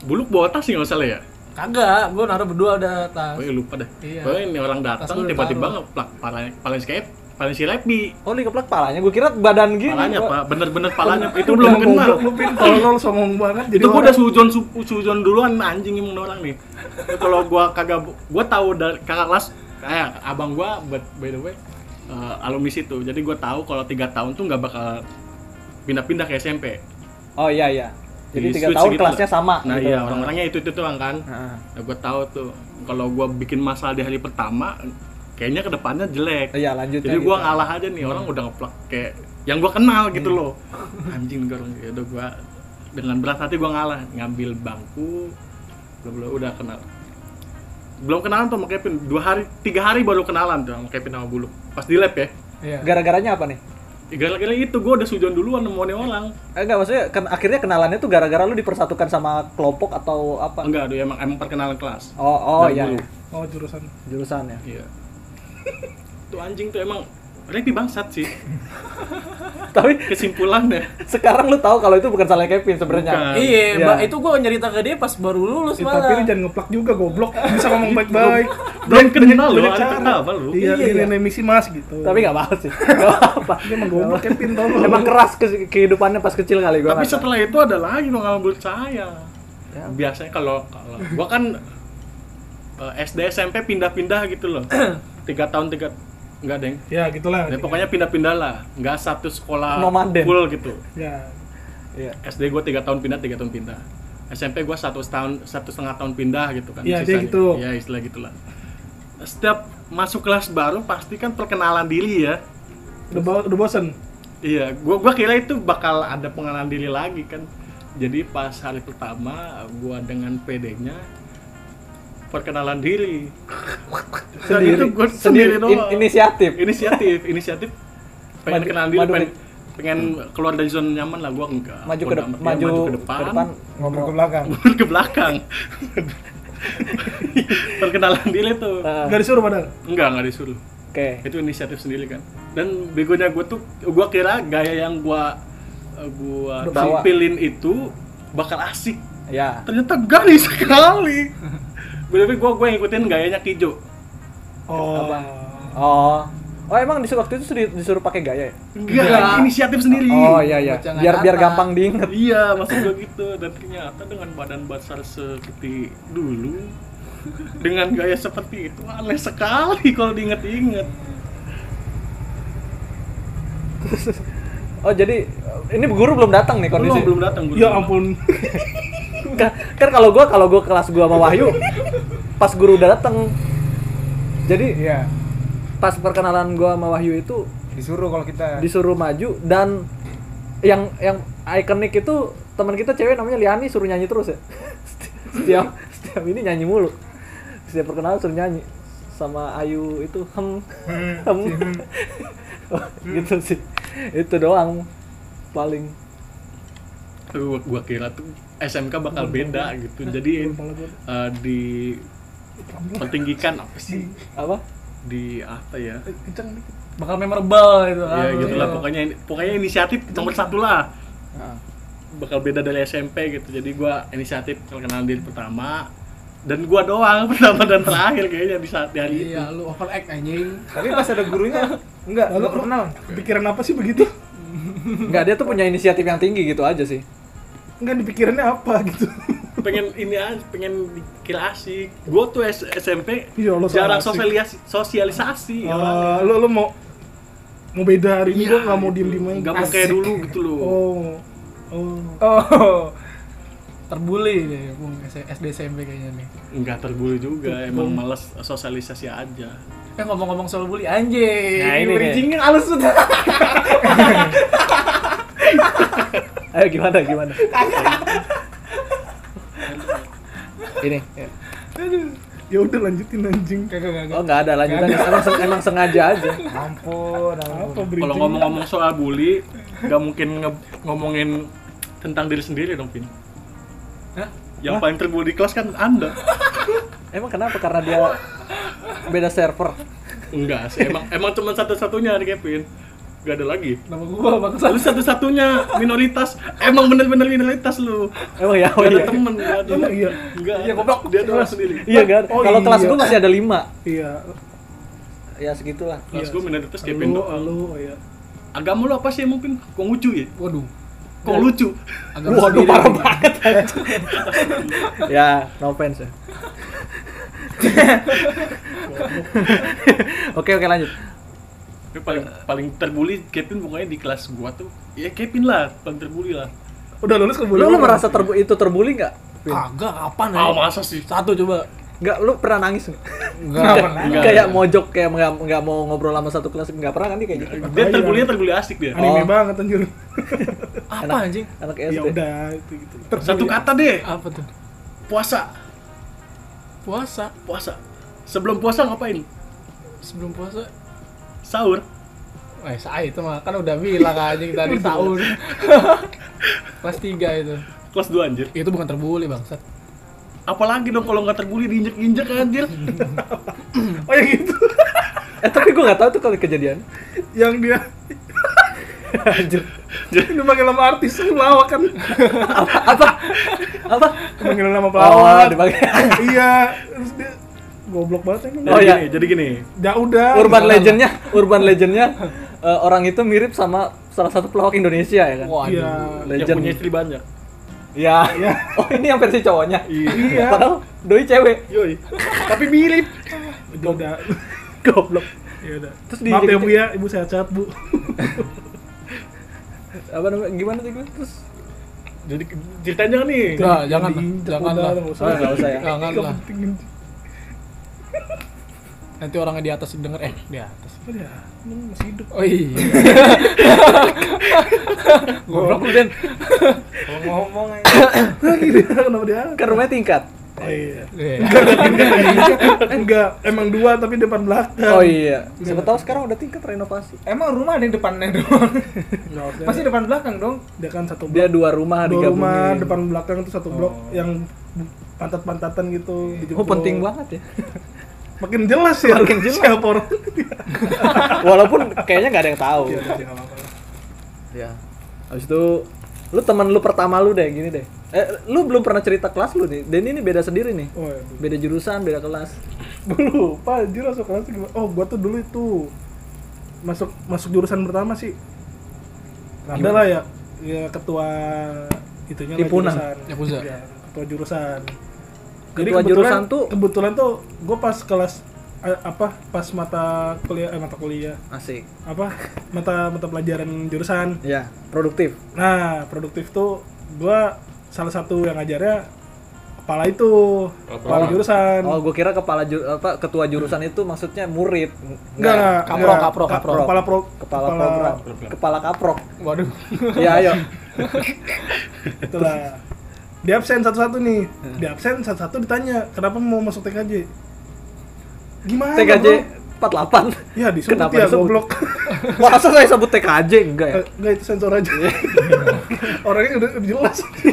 Buluk bawa tas sih nggak salah ya
kagak gue naruh berdua udah tas
Oh iya lupa dah.
Iya.
Oh ini orang
Tas
datang
gua udah
tiba-tiba
taruh.
ngeplak palanya paling skate, paling si Lepi.
Oh, li keplak palanya. Gue kira badan gini.
Palanya
Gua-
pak, bener-bener palanya. Itu Iya, belum kenal.
Lu pin tolol songong banget jadi
Itu gua
orang.
udah sujon su- sujon duluan anjing emang orang nih. [laughs] Itu Kalau gua kagak gua tahu dari kakak kelas kayak abang gua but by the way eh, alumni situ. Jadi gua tahu kalau tiga tahun tuh nggak bakal pindah-pindah ke SMP.
Oh iya iya. Jadi
Di
tiga
switch
tahun
gitu
kelasnya
lah.
sama.
Nah
gitu.
iya orang-orangnya itu itu doang kan.
Heeh.
Nah, gua tahu tuh kalau gua bikin masalah di hari pertama kayaknya kedepannya jelek.
Iya lanjut.
Jadi gua ngalah aja nih orang udah ngeplak kayak yang gua kenal gitu loh. [laughs] Anjing garung ya udah gua dengan berat hati gua ngalah ngambil bangku belum belum udah kenal. Belum kenalan tuh sama Kevin. Dua hari, tiga hari baru kenalan tuh sama Kevin sama Bulu. Pas di lab ya.
iya
Gara-garanya apa nih?
Gara-gara itu gua udah sujon duluan nemu nih orang.
Eh, enggak maksudnya ken- akhirnya kenalannya tuh gara-gara lu dipersatukan sama kelompok atau apa?
Enggak, aduh, emang emang perkenalan kelas.
Oh oh
Dari
iya.
dulu.
iya.
Oh jurusan.
Jurusannya. [laughs]
Iya. [laughs] tuh anjing tuh emang Repi bangsat [laughs] sih
Tapi
kesimpulannya.
sekarang lu tahu kalau itu bukan salah Kevin sebenarnya.
Bukan.
iya
Iya.
Mbak, itu gue nyerita ke dia pas baru lulus
Eh, tapi lu
malah
jangan ngeplak juga goblok. Bisa ngomong
[laughs]
baik-baik.
Belum
Banyak-
kenal loh,
banyak
ada
cara.
kenapa lu?
Iya,
Iya,
ini
iya.
ini misi Mas gitu.
Tapi nggak bahas
[laughs]
sih. Nggak apa-apa.
dia emang goblok Kevin tolol.
Emang keras ke- kehidupannya pas kecil kali gua.
Tapi
nggak tahu.
setelah itu ada lagi dong kalau menurut saya. Biasanya kalau kalau gua kan eh, SD SMP pindah-pindah gitu loh. tiga tahun tiga enggak deng.
Ya, gitulah.
Ya, pokoknya pindah-pindah lah. Enggak satu sekolah
Nomaden.
full gitu.
Ya.
Iya.
SD gua tiga tahun pindah, tiga tahun pindah. SMP gua satu tahun satu setengah tahun pindah gitu kan.
Iya,
sisanya.
dia gitu.
Iya, istilah gitulah. Setiap masuk kelas baru pasti kan perkenalan diri ya.
Udah, bo- udah bosen.
Iya, gua gua kira itu bakal ada pengenalan diri lagi kan. Jadi pas hari pertama gua dengan PD-nya perkenalan
[laughs]
diri. Dan itu gua sendiri,
In-
doang.
inisiatif.
inisiatif, inisiatif pengen
Maju-
kenalan diri,
maju- Hmm.
pengen, pengen keluar dari zona nyaman lah gua enggak.
Maju
Bodo
ke, kan? de-
amat. Iya,
maju,
ke depan,
Ngobrol ke
ngomong.
belakang.
[laughs] mundur ke belakang. perkenalan diri tuh.
Eh,
Gak disuruh padahal.
Enggak, enggak disuruh
Oke.
itu inisiatif sendiri kan dan begonya gue tuh gue kira gaya yang gue gua
Udah bawa.
tampilin itu bakal asik
Ya.
ternyata garis [laughs] sekali bener gue gue ngikutin gayanya Kijo
Oh.
Apa? Oh. Oh emang di waktu itu disuruh, disuruh pakai gaya ya?
enggak inisiatif sendiri
Oh iya iya.
Bocah nggak
Biar biar
nyata.
gampang diinget.
iya maksud gue gitu dan ternyata dengan badan besar seperti dulu dengan gaya seperti itu aneh sekali kalau diinget-inget
[laughs] Oh jadi ini guru belum datang nih kondisi.
belum belum datang guru.
Ya ampun.
[laughs] Kan, kan kalau gua kalau gua kelas gua sama
[laughs]
Wahyu pas guru udah datang. Jadi
Iya,
pas perkenalan gua sama Wahyu itu
disuruh kalau kita
disuruh maju dan yang yang ikonik itu teman kita cewek namanya Liani suruh nyanyi terus ya. [laughs] setiap setiap ini nyanyi mulu. Setiap perkenalan suruh nyanyi sama Ayu itu hem hem [laughs] gitu sih. Itu doang paling
Tuh, gua kira tuh SMK bakal beda gitu. Jadi eh, di pertinggikan apa sih?
apa?
Di apa ya?
Kenceng dikit.
Eh, bakal memorable gitu kan
Ya gitulah pokoknya pokoknya inisiatif nomor satu lah.
Ah.
Bakal beda dari SMP gitu. Jadi gua inisiatif perkenalan diri pertama dan gua doang [laughs] pertama dan terakhir kayaknya di saat di hari itu.
iya lu overact anjing
tapi pas ada gurunya enggak
Lalu [laughs]
lalu kenal
Pikiran apa sih begitu?
Enggak, dia tuh punya inisiatif yang tinggi gitu aja sih.
Enggak dipikirannya apa gitu.
pengen ini aja, pengen dikira asik. Gua tuh S- SMP
Ya
Iya,
Allah, so
jarang
asik.
sosialis-
Iya,
sosialisasi.
Oh,
orangnya.
ya.
Eh, lu lu mau mau beda hari ini gua nggak mau diem diem
Nggak mau kayak dulu gitu loh.
Oh. Oh.
oh
terbully ya, deh Bung, S- SD SMP kayaknya nih
nggak terburu juga emang males sosialisasi aja
eh ngomong-ngomong soal bully anjing
Nah, ini nih.
bridgingnya halus tuh
Ayo gimana gimana? ini.
Ya udah lanjutin anjing.
kagak kagak
Oh, enggak ada lanjutan. Emang, seng- emang sengaja aja.
ampun
Apa
ampun
kalau
bridging?
ngomong-ngomong soal bully nggak mungkin nge- ngomongin tentang diri sendiri dong Pin
Hah?
yang paling terbully di kelas kan anda
Emang kenapa? Karena dia beda server.
enggak sih emang emang cuma satu-satunya nih Kevin Gak ada lagi.
Nama gua bangsa.
Lu satu-satunya minoritas. Emang bener-bener minoritas lu.
Emang ya, oh
Gak ada
iya.
temen. Gak ada.
Emang iya?
Gak
Iya, goblok.
Dia doang sendiri.
Iya kan?
Oh,
Kalau kelas
iya.
gue masih ada lima.
Iya.
Ya segitulah.
Kelas
Iya.
gue minoritas dia
Lu,
pendok.
lu, iya.
Agama lu apa sih mungkin? Kok lucu ya?
Waduh.
Kok lucu?
Agak Waduh, parah banget.
ya, no offense ya. [laughs] oke oke lanjut.
Tapi paling paling terbully Kevin pokoknya di kelas gua tuh. Ya Kevin lah, paling terbully lah.
Udah lulus ke
Lu, lu merasa terbu itu terbully nggak?
Kagak kapan
Ah masa sih?
Satu coba.
Nggak, lu pernah nangis nggak?
Kenapa nangis?
Nggak.
[laughs] kayak mojok kayak nggak nggak mau ngobrol sama satu kelas nggak pernah kan dia kayak gitu.
Dia terbully terbully asik dia.
Anime
Oh.
banget anjir.
Enak.
Apa anjing?
Anak
Ya
SD.
udah itu gitu.
Satu kata deh,
Apa tuh?
puasa.
Puasa.
Puasa. Sebelum puasa ngapain?
Sebelum puasa
Sahur.
Eh, saya itu mah kan udah bilang anjing tadi sahur. Kelas 3 itu.
Kelas 2 anjir.
Itu bukan terbully, bangsat.
Apalagi dong kalau nggak terbully diinjek-injek anjir.
Oh yang
ya
itu.
gitu. [laughs] Eh tapi gue nggak tahu tuh kalau kejadian.
yang dia
[laughs]
[laughs]
Anjir.
ini pakai nama artis pelawak
[laughs]
kan
apa apa apa?
panggil
Oh,
nama pelawak
dipakai.
iya terus dia goblok banget emang
Oh,
Jadi
iya.
gini, jadi gini.
ya udah
[laughs] Urban legendnya, urban legendnya eh, orang itu mirip sama salah satu pelawak Indonesia ya kan?
Waduh.
iya
Yang punya
Legend.
istri banyak.
Ya.
Iya.
[laughs] Oh ini yang versi cowoknya.
Iya.
[laughs] Padahal doi cewek.
Yoi. Tapi mirip.
ya udah
Goblok.
ya udah
Terus di
maaf ya bu ya ibu sehat-sehat bu
apa namanya? Gimana sih gue? Terus
Jadi ceritanya nih.
Nah, jangan lah,
Diinjek
jangan
udah,
lah.
nggak usah.
oh, nggak usah ya.
Jangan
Nggak
lah.
penting.
Nanti orangnya di atas denger eh di atas.
Udah, emang ya, masih hidup
Oh [laughs] iya. Goblok lu Den.
Kalau ngomong aja.
lagi dia kenapa dia
Kan rumahnya tingkat.
oh iya [laughs]
Iya.
enggak emang dua tapi depan belakang
Oh iya. Siapa tahu sekarang udah tingkat renovasi.
Emang rumah ada yang depannya doang.
Nggak usah.
Masih depan belakang dong.
dia kan satu
Dia dua rumah
dua
digabungin.
rumah depan belakang itu satu blok
Oh.
yang pantat-pantatan gitu dijemput.
Oh penting
[laughs]
banget ya.
makin jelas ya makin jelas siapa orang
Walaupun kayaknya nggak ada yang tahu.
Iya, nggak apa-apa.
Ya. Habis itu lu teman lu pertama lu deh gini deh. Eh lu belum pernah cerita kelas lu nih. Dan ini beda sendiri nih.
oh ya
Beda jurusan, beda kelas.
gue lupa anjir masuk kelas tuh gimana oh gua tuh dulu itu masuk masuk jurusan pertama sih ada lah ya ya ketua itunya lah
Himpunan.
jurusan.
Yakuza.
Ya, ketua jurusan
Ketua jurusan tuh-
kebetulan tuh gue pas kelas eh, apa pas mata kuliah eh, mata kuliah
Asik.
apa mata mata pelajaran jurusan
Ya, produktif.
nah produktif tuh gua salah satu yang ngajarnya kepala itu kepala jurusan
Oh, gue kira kepala ju- apa ketua jurusan itu maksudnya murid.
Enggak, enggak.
Kapro,
enggak.
kapro,
Ka-
kapro.
Kepala pro,
Kepala program. Kepala kaprok.
Waduh.
[laughs] ya, ayo.
Itulah. Di absen satu-satu nih. Di absen satu-satu ditanya, "Kenapa mau masuk TKJ?" Gimana?
TKJ
bro?
48.
Ya, disebut
Kenapa
ya
disebut?
goblok.
Masa saya sebut TKJ enggak ya?
Eh, Enggak itu sensor aja.
Iya.
[laughs] Orangnya udah udah jelas. [laughs]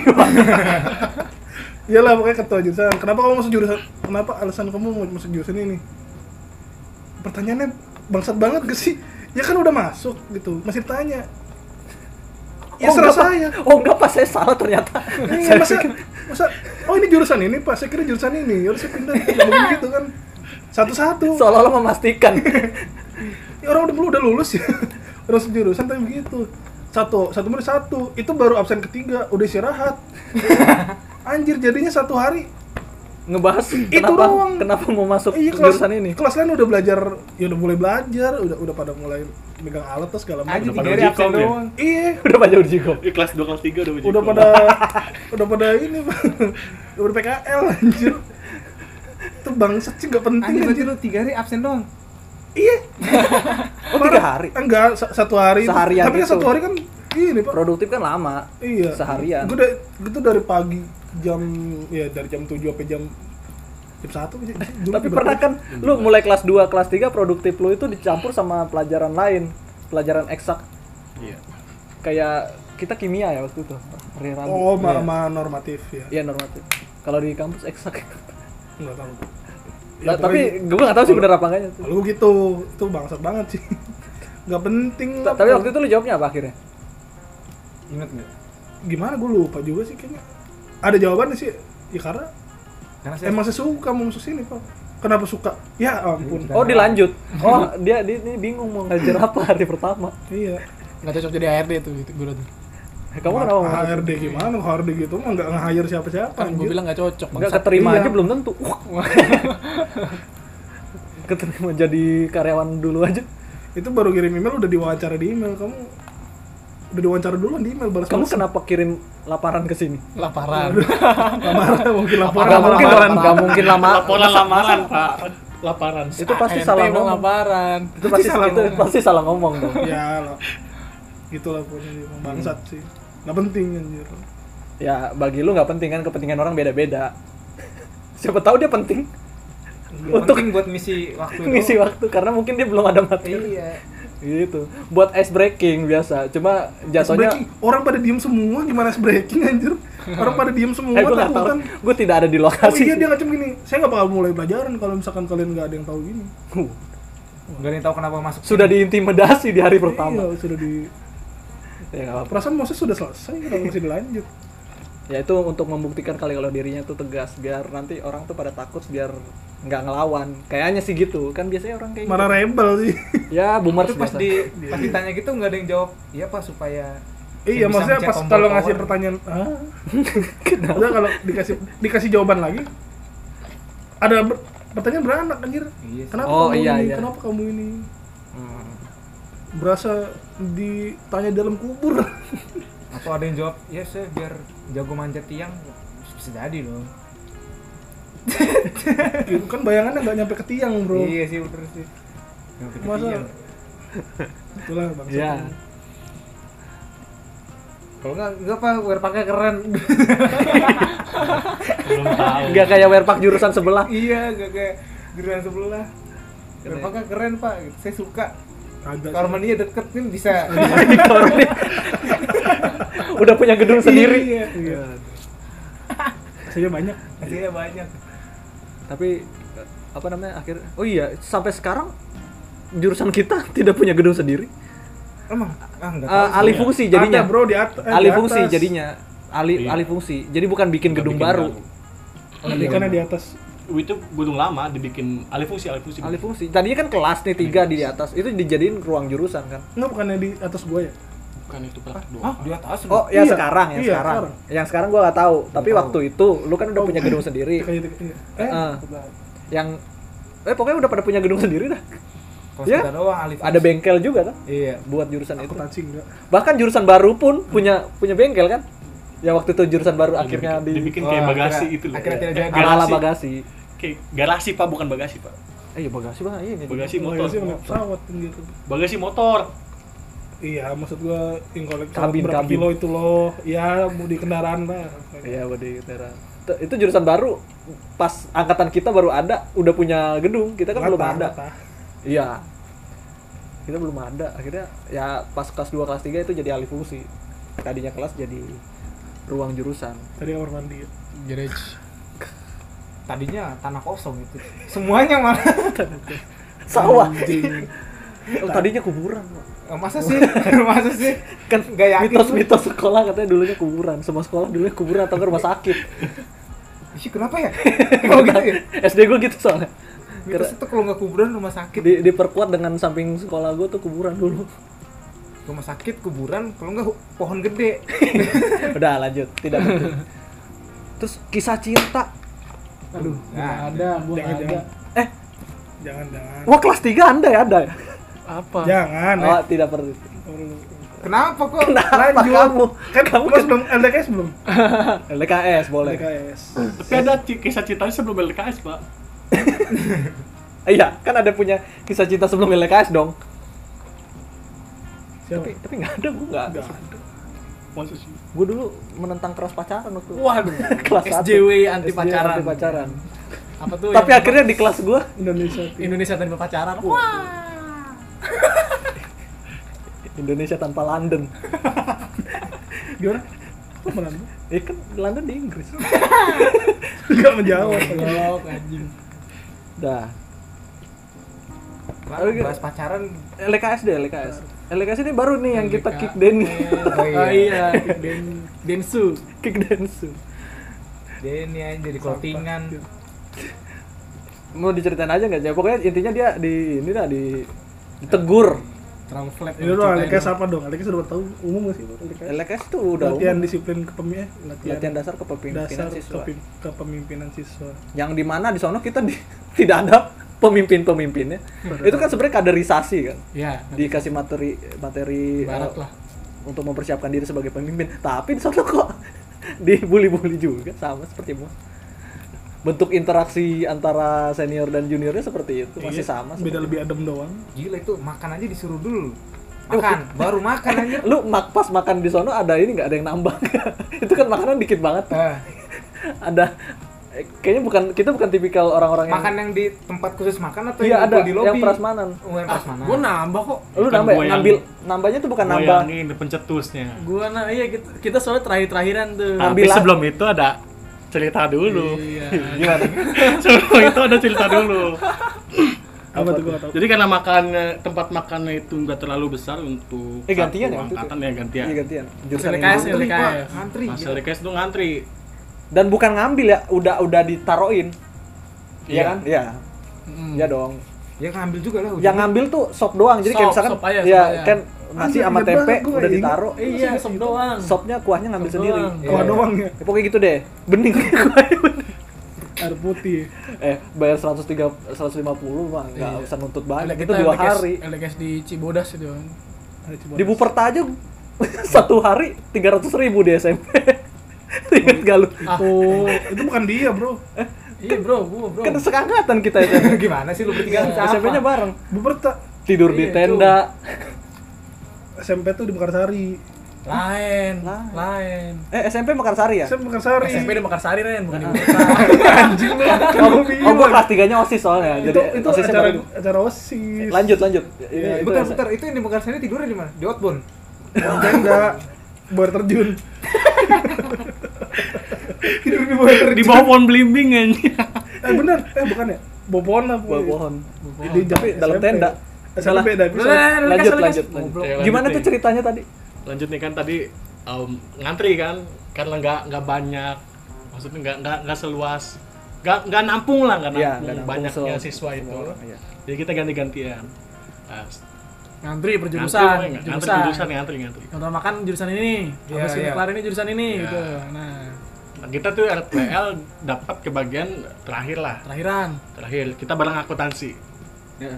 Iyalah pokoknya ketua jurusan. Kenapa kamu masuk jurusan? Kenapa alasan kamu mau masuk jurusan ini? Pertanyaannya bangsat banget gak sih? Ya kan udah masuk gitu, masih ditanya. Ya
oh,
serah
enggak, Pak.
saya.
Oh, enggak pas saya salah [laughs] ternyata.
Iya, masa, masa, oh ini jurusan ini pak, saya kira jurusan ini, harus saya pindah,
[laughs]
Ngomong gitu kan satu-satu,
Seolah-olah [laughs] memastikan.
Ya, orang udah udah lulus ya, [laughs] udah jurusan tapi begitu satu, satu murid satu, itu baru absen ketiga, udah
[laughs]
istirahat anjir jadinya satu hari
Ngebahas kenapa
doang.
kenapa mau masuk
iya kelas,
jurusan ini. [laughs]
kelas lain udah belajar, ya udah mulai belajar, udah udah pada mulai megang alat terus segala
Aja
Udah
macam
tiga
pada
hari
uji
absen
kom ya?
doang.
iya,
Udah pada uji kok.
Di kelas 2 kelas 3 udah uji
udah
kom.
pada udah pada ini Pak. [laughs] udah pada PKL anjir itu bangsat sih gak penting
Anjir
anjir,
berarti lu tiga hari absen doang.
Iya.
Oh, tiga hari.
Enggak, sa- satu hari. itu.
Seharian
Tapi kan
gitu.
satu hari kan ini, Pak.
Produktif kan lama.
iya.
seharian.
Gue da- gua tuh dari pagi jam ya dari jam 7 sampai jam jam 1
Tapi pernah kan lu mulai kelas 2, kelas 3 produktif lu itu dicampur sama pelajaran lain, pelajaran eksak
Iya.
kayak kita kimia ya waktu itu. Hari Rabu.
Oh, ma,
Iya.
ma- normatif ya.
Iya normatif. Kalau di kampus eksak. Nah,
Enggak tahu. Ya,
[laughs] Lah, tapi gue gak tahu sih bener apa enggaknya.
Lalu gitu, itu bangsat banget sih. [laughs] nggak penting lah.
Tapi waktu itu lu jawabnya apa akhirnya?
Ingat nggak?
gimana gue lupa juga sih kayaknya ada jawabannya sih ya karena
Karena saya
emang saya suka mau masuk sini pak kenapa suka ya ampun
Iya.
Oh
[laughs]
dilanjut. Oh dia, dia ini bingung mau ngajar apa hari pertama.
iya
Nggak cocok jadi ARD tuh, itu gue tuh.
Kamu kenapa mau ngajar?
HRD gimana HRD gitu mah nggak nge-hire siapa-siapa
Kan gue
anjir.
bilang nggak cocok.
Enggak
bangsat.
keterima
Iya.
aja belum tentu. Wah. [laughs] keterima jadi karyawan dulu aja.
itu baru kirim email udah diwawancara di email kamu udah diwawancara duluan di email balas
Kamu
balas.
kenapa kirim laparan ke sini?
Laparan.
Nggak marah mungkin laporan
Enggak mungkin
laporan.
laparan, enggak mungkin lama.
Laporan lamaran, Pak. Laparan.
Itu pasti
ARD
salah
dong,
ngomong.
laparan.
Itu pasti
salah
itu
ngomong.
pasti salah ngomong dong.
ya lah gitulah pokoknya dia emang bangsat sih nggak penting anjir
Hmm. Ya bagi lu nggak penting kan kepentingan orang beda-beda. Siapa tahu dia penting
untuk buat misi waktu itu.
ngisi waktu karena mungkin dia belum ada materi.
Iya.
Gitu. Buat ice breaking biasa. Cuma
Breaking.
jatuhnya
orang pada diem semua gimana es breaking anjir orang pada diem semua
Eh, gue nggak tahu.
takutan
Gue tidak ada di
oh iya
lokasi.
dia ngacem gini saya nggak bakal mulai pelajaran kalau misalkan kalian nggak ada yang tahu gini
Huh,
Gak ada yang tahu kenapa masuk.
Sudah diintimidasi di hari
iya
pertama.
sudah di
Ya, nggak apa-apa.
perasaan Moses sudah selesai kenapa masih dilanjut
ya itu untuk membuktikan kali kalau dirinya tuh tegas biar nanti orang tuh pada takut biar nggak ngelawan kayaknya sih gitu kan biasanya orang kayak
mana
gitu.
rebel sih
ya boomer
Terus pas di pas ditanya gitu nggak ada yang jawab. Iya pak supaya
Iya,
bisa
maksudnya
mencet
pas
tombol
kalau
power.
ngasih pertanyaan, ah, udah kalau dikasih dikasih jawaban lagi, ada ber- pertanyaan beranak anjir.
Iya sih.
Kenapa
Oh,
kamu
iya,
ini?
iya.
Kenapa kamu ini? Berasa ditanya dalam kubur.
atau ada yang jawab ya saya biar jago manjat tiang bisa jadi dong.
gitu kan bayangannya nggak nyampe ke tiang, Bro.
Iya sih bener sih. Yang pikir
Masa-
tiang.
Itulah bang.
ya
Kalau nggak nggak apa wear pakai keren. [laughs]
Belum tahu.
nggak kayak werpak jurusan
[laughs]
sebelah
iya nggak kayak geran sebelah. Wear pakai keren pak. Saya suka.
Agak
Kamar
sih.
mandi deket nih bisa.
Di kamar dia. gitu. udah punya gedung sendiri
Iya.
Iya. Saya banyak.
Hasilnya banyak.
tapi eh, apa namanya akhir oh iya sampai sekarang jurusan kita [laughs] tidak punya gedung sendiri
Emang ah nggak
Eh,
tahu.
alih fungsi jadinya
Ada, Bro, di, at eh, di
alih fungsi
atas.
jadinya alih
Iya.
alih fungsi jadi bukan bikin gedung baru
Iya, karena di atas.
Itu gedung lama dibikin alih fungsi, alih fungsi.
alih fungsi tadinya kan kelas nih tiga di di atas itu dijadiin ruang jurusan kan
Enggak bukannya di atas gua ya?
Bukan itu Pak. Dua.
Hah, di atas. Bro.
oh yang
Iya,
sekarang yang
iya,
sekarang.
sekarang.
yang sekarang gua nggak tahu tapi
tahu.
waktu itu lu kan udah punya gedung sendiri
Kayak di- iya. Eh,
Eh. yang eh pokoknya udah pada punya gedung sendiri dah
Kalau
Iya.
kita doang alih
ada
fungsi.
bengkel juga kan
Iya.
buat jurusan itu
akuntansi enggak.
bahkan jurusan baru pun punya punya bengkel kan yang waktu itu jurusan baru akhirnya
Dibikin-
di
dibikin kayak
Oh,
bagasi
akhirnya-
gitu loh.
akhirnya tidak
Kayak
jadi.
ala ala
garasi.
bagasi
Kayak garasi Pak, bukan bagasi Pak.
eh iya bagasi bang iya iya.
Bagasi
Oh,
motor.
iya sih, anak pesawat gitu.
Bagasi motor.
Iya, maksud gua ingkolek
Kabin,
berapa
kabin.
kilo itu loh. Ya, mau di kendaraan lah.
Iya, Budi Tera. Itu- Itu jurusan baru pas angkatan kita baru ada, udah punya gedung, kita kan belum
Rata,
ada.
rata.
Iya. Kita belum ada. Akhirnya ya pas kelas 2 kelas 3 itu jadi alih fungsi. Tadinya kelas jadi ruang jurusan.
Tadi kamar mandi. ya.
Garage.
Tadinya tanah kosong itu. Semuanya malah.
Sawah. Oh, tadinya kuburan. Pak.
[laughs] Eh, Masa sih? Masa sih?
Kan
Nggak yakin
mitos-mitos sekolah katanya dulunya kuburan. Semua sekolah dulunya kuburan atau nggak rumah sakit.
Ih, kenapa ya? Kalau gitu ya.
[laughs] SD gue gitu soalnya.
Mitos itu kalau nggak kuburan rumah sakit.
Di, diperkuat dengan samping sekolah gue tuh kuburan dulu.
Rumah sakit, kuburan, kalau nggak hu- pohon gede.
Udah lanjut, tidak penting. Terus kisah cinta.
Aduh,
Nggak
Nah,
ada, gua nggak
jangan,
ada.
jangan.
Eh,
Jangan, jangan.
wah kelas 3 Anda ya ada ya?
Apa?
Jangan. eh.
Oh, tidak perlu.
Perlu.
kenapa kok?
Kenapa kamu?
Kan
kamu
kamu
kan
belum LDKS belum?
LKS boleh.
LDKS.
Tapi ada ci- kisah cintanya sebelum LKS Pak.
Iya, kan ada punya kisah cinta sebelum LKS dong.
Siapa?
Tapi tapi nggak ada gue nggak.
Enggak.
Maksud sih.
Gue dulu menentang keras pacaran waktu
Waduh.
[laughs] kelas satu.
SJW anti
SJW
pacaran.
anti pacaran.
Apa tuh?
Tapi
yang-
akhirnya di kelas gue
Indonesia.
Indonesia tanpa pacaran.
Indonesia tanpa London.
Gimana? Kok malam?
Ya kan London di Inggris.
Oh, iya.
Enggak menjawab.
Goblok anjing.
Dah.
Kenapa bahas pacaran?
LKS deh LKS LKS ini baru nih [laughs] yang kita
LKS.
kick Denny
Oh
Oh
iya.
iya, Den Densu.
kick Densu
Denny aja jadi clothingan.
mau diceritain aja nggak sih pokoknya intinya dia di ini lah di ditegur
Terlalu flat.
Ini Iya, dulu
ceritanya.
LKS apa dong? LKS udah tahu umum gak sih? LKS?
LKS tuh udah
Latihan
umum.
disiplin kepemimpinan, latihan,
latihan dasar
dasar
kepemimpinan siswa
kepim- kepemimpinan siswa.
yang dimana di sono kita di- [laughs] tidak ada pemimpin-pemimpinnya itu kan sebenarnya kaderisasi kan
Iya,
dikasih materi materi
barat
eh,
lah.
untuk mempersiapkan diri sebagai pemimpin tapi di sono kok [laughs] dibully-bully juga sama seperti mu bentuk interaksi antara senior dan juniornya seperti itu masih
Iya,
sama
Beda
seperti
lebih adem doang.
Gila itu makan aja disuruh dulu. Makan, baru makan anjir.
itu. lu mak pas makan di sono ada ini nggak [laughs] ada yang nambah itu kan makanan dikit banget
Eh,
ada eh, kayaknya bukan kita bukan tipikal orang-orang [laughs] yang
makan yang di tempat khusus makan atau
iya ada
ngumpul di lobi?
yang prasmanan
Oh, yang prasmanan.
Gua nambah kok.
lu
Bukan
nambah ya?
goyang.
ngambil nambahnya tuh bukan nambah
Goyangin depan cetusnya.
Gua nah iya kita, kita soalnya terakhir-terakhiran tuh.
Tapi
Ambil lah.
sebelum itu ada cerita dulu. [laughs]
Iya.
gimana
sebelum itu ada cerita dulu.
Apa tuh gua gak tahu.
Jadi karena makannya tempat makannya itu nggak terlalu besar untuk
Eh, gantian ya
satu
waktu itu?
angkatan ya gantian.
iya gantian jurusan ini.
LKS
Ngantri,
ya?
Pak.
LKS.
Ngantri.
Mas
gila.
LKS itu ngantri.
dan bukan ngambil ya udah udah ditaruhin iya kan iya
Mm.
iya dong
Ya ngambil juga lah.
yang ngambil tuh sop doang jadi kayak
Sop,
misalkan
sop aja,
ya
sop aja.
kan nasi
Anjir,
sama
ingat
tempe
banget gua,
udah
ingat.
ditaruh
Eh, iya, sop doang.
sopnya kuahnya ngambil
Sop
sendiri
doang.
Kuah
Iya.
doang ya,
Ya, pokoknya gitu deh bening [laughs] kuahnya bening.
air putih.
eh bayar 130 150 mah nggak
Iya.
usah nuntut banyak
Ada
itu dua
LKS
hari
LKS di Cibodas itu. kan.
Ada Cibodas.
di Buperta aja [laughs] satu hari 300 ribu di SMP [laughs] ingat gak lu
Ah,
Oh, itu bukan dia, Bro.
iya bro, gua bro.
kan sekangkatan kita [laughs] itu
Gimana sih lu bertiga
Iya.
siapa?
SMP-nya bareng
Buperta
tidur di
Iya, itu.
tenda
SMP tuh di Mekarsari.
Lain,
Lain.
lain.
eh SMP Mekarsari ya
SMP Mekarsari. Ah.
SMP di Mekarsari Ren, bukan di
[laughs]
oh, oh gue kelas tiganya osis soalnya
itu
jadi
itu
osisnya
acara
baru-
acara OSIS.
lanjut lanjut ini itu
Bentar,
ya,
bentar. Itu yang di Mekarsari tidurnya di mana? Di Outbound.
Tenda buat
[laughs]
terjun.
Tidur di bawah
Di [laughs] bawah pohon belimbing anjing.
Eh bener, eh bukan ya? Bobon apa?
buah pohon
Di
tapi dalam
SMP.
tenda
SMP
Salah.
dah bisa.
lanjut lanjut lanjut
Oke, lanjut
gimana
nih.
tuh ceritanya tadi
Lanjut nih kan tadi um, ngantri kan karena nggak nggak banyak maksudnya nggak nggak nggak seluas nggak nggak nampung lah nggak nampung,
Iya, nggak nampung
banyaknya
se-
siswa itu.
semua orang, iya.
Jadi kita ganti-gantian. Nah,
Ngantri
ngantri, pokoknya
perjurusan,
nggak- ngantri jurusan ngantri ngantri.
Contoh makan jurusan ini,
Iya,
habis ini
iya.
kelar ini jurusan ini
Iya.
gitu. Nah,
Nah, kita tuh RPL dapat ke bagian terakhir lah.
terakhiran.
Terakhir kita bareng akuntansi. Iya.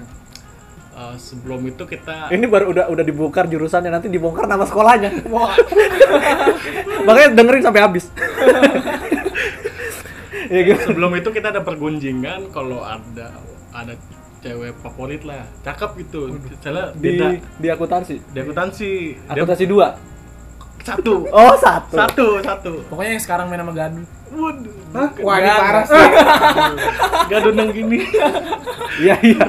Eh, sebelum itu kita
ini baru udah udah dibongkar jurusannya nanti dibongkar nama sekolahnya [laughs] makanya dengerin sampai [laughs] habis ya gitu
sebelum itu kita ada pergunjingan kalau ada ada cewek favorit lah cakep gitu misalnya
di
beda
di akuntansi
di akuntansi Dia
akuntansi dua
satu
oh satu
satu satu
Pokoknya yang sekarang main sama Gadu.
waduh
Wah, ini parah sih.
gak nang gini
iya iya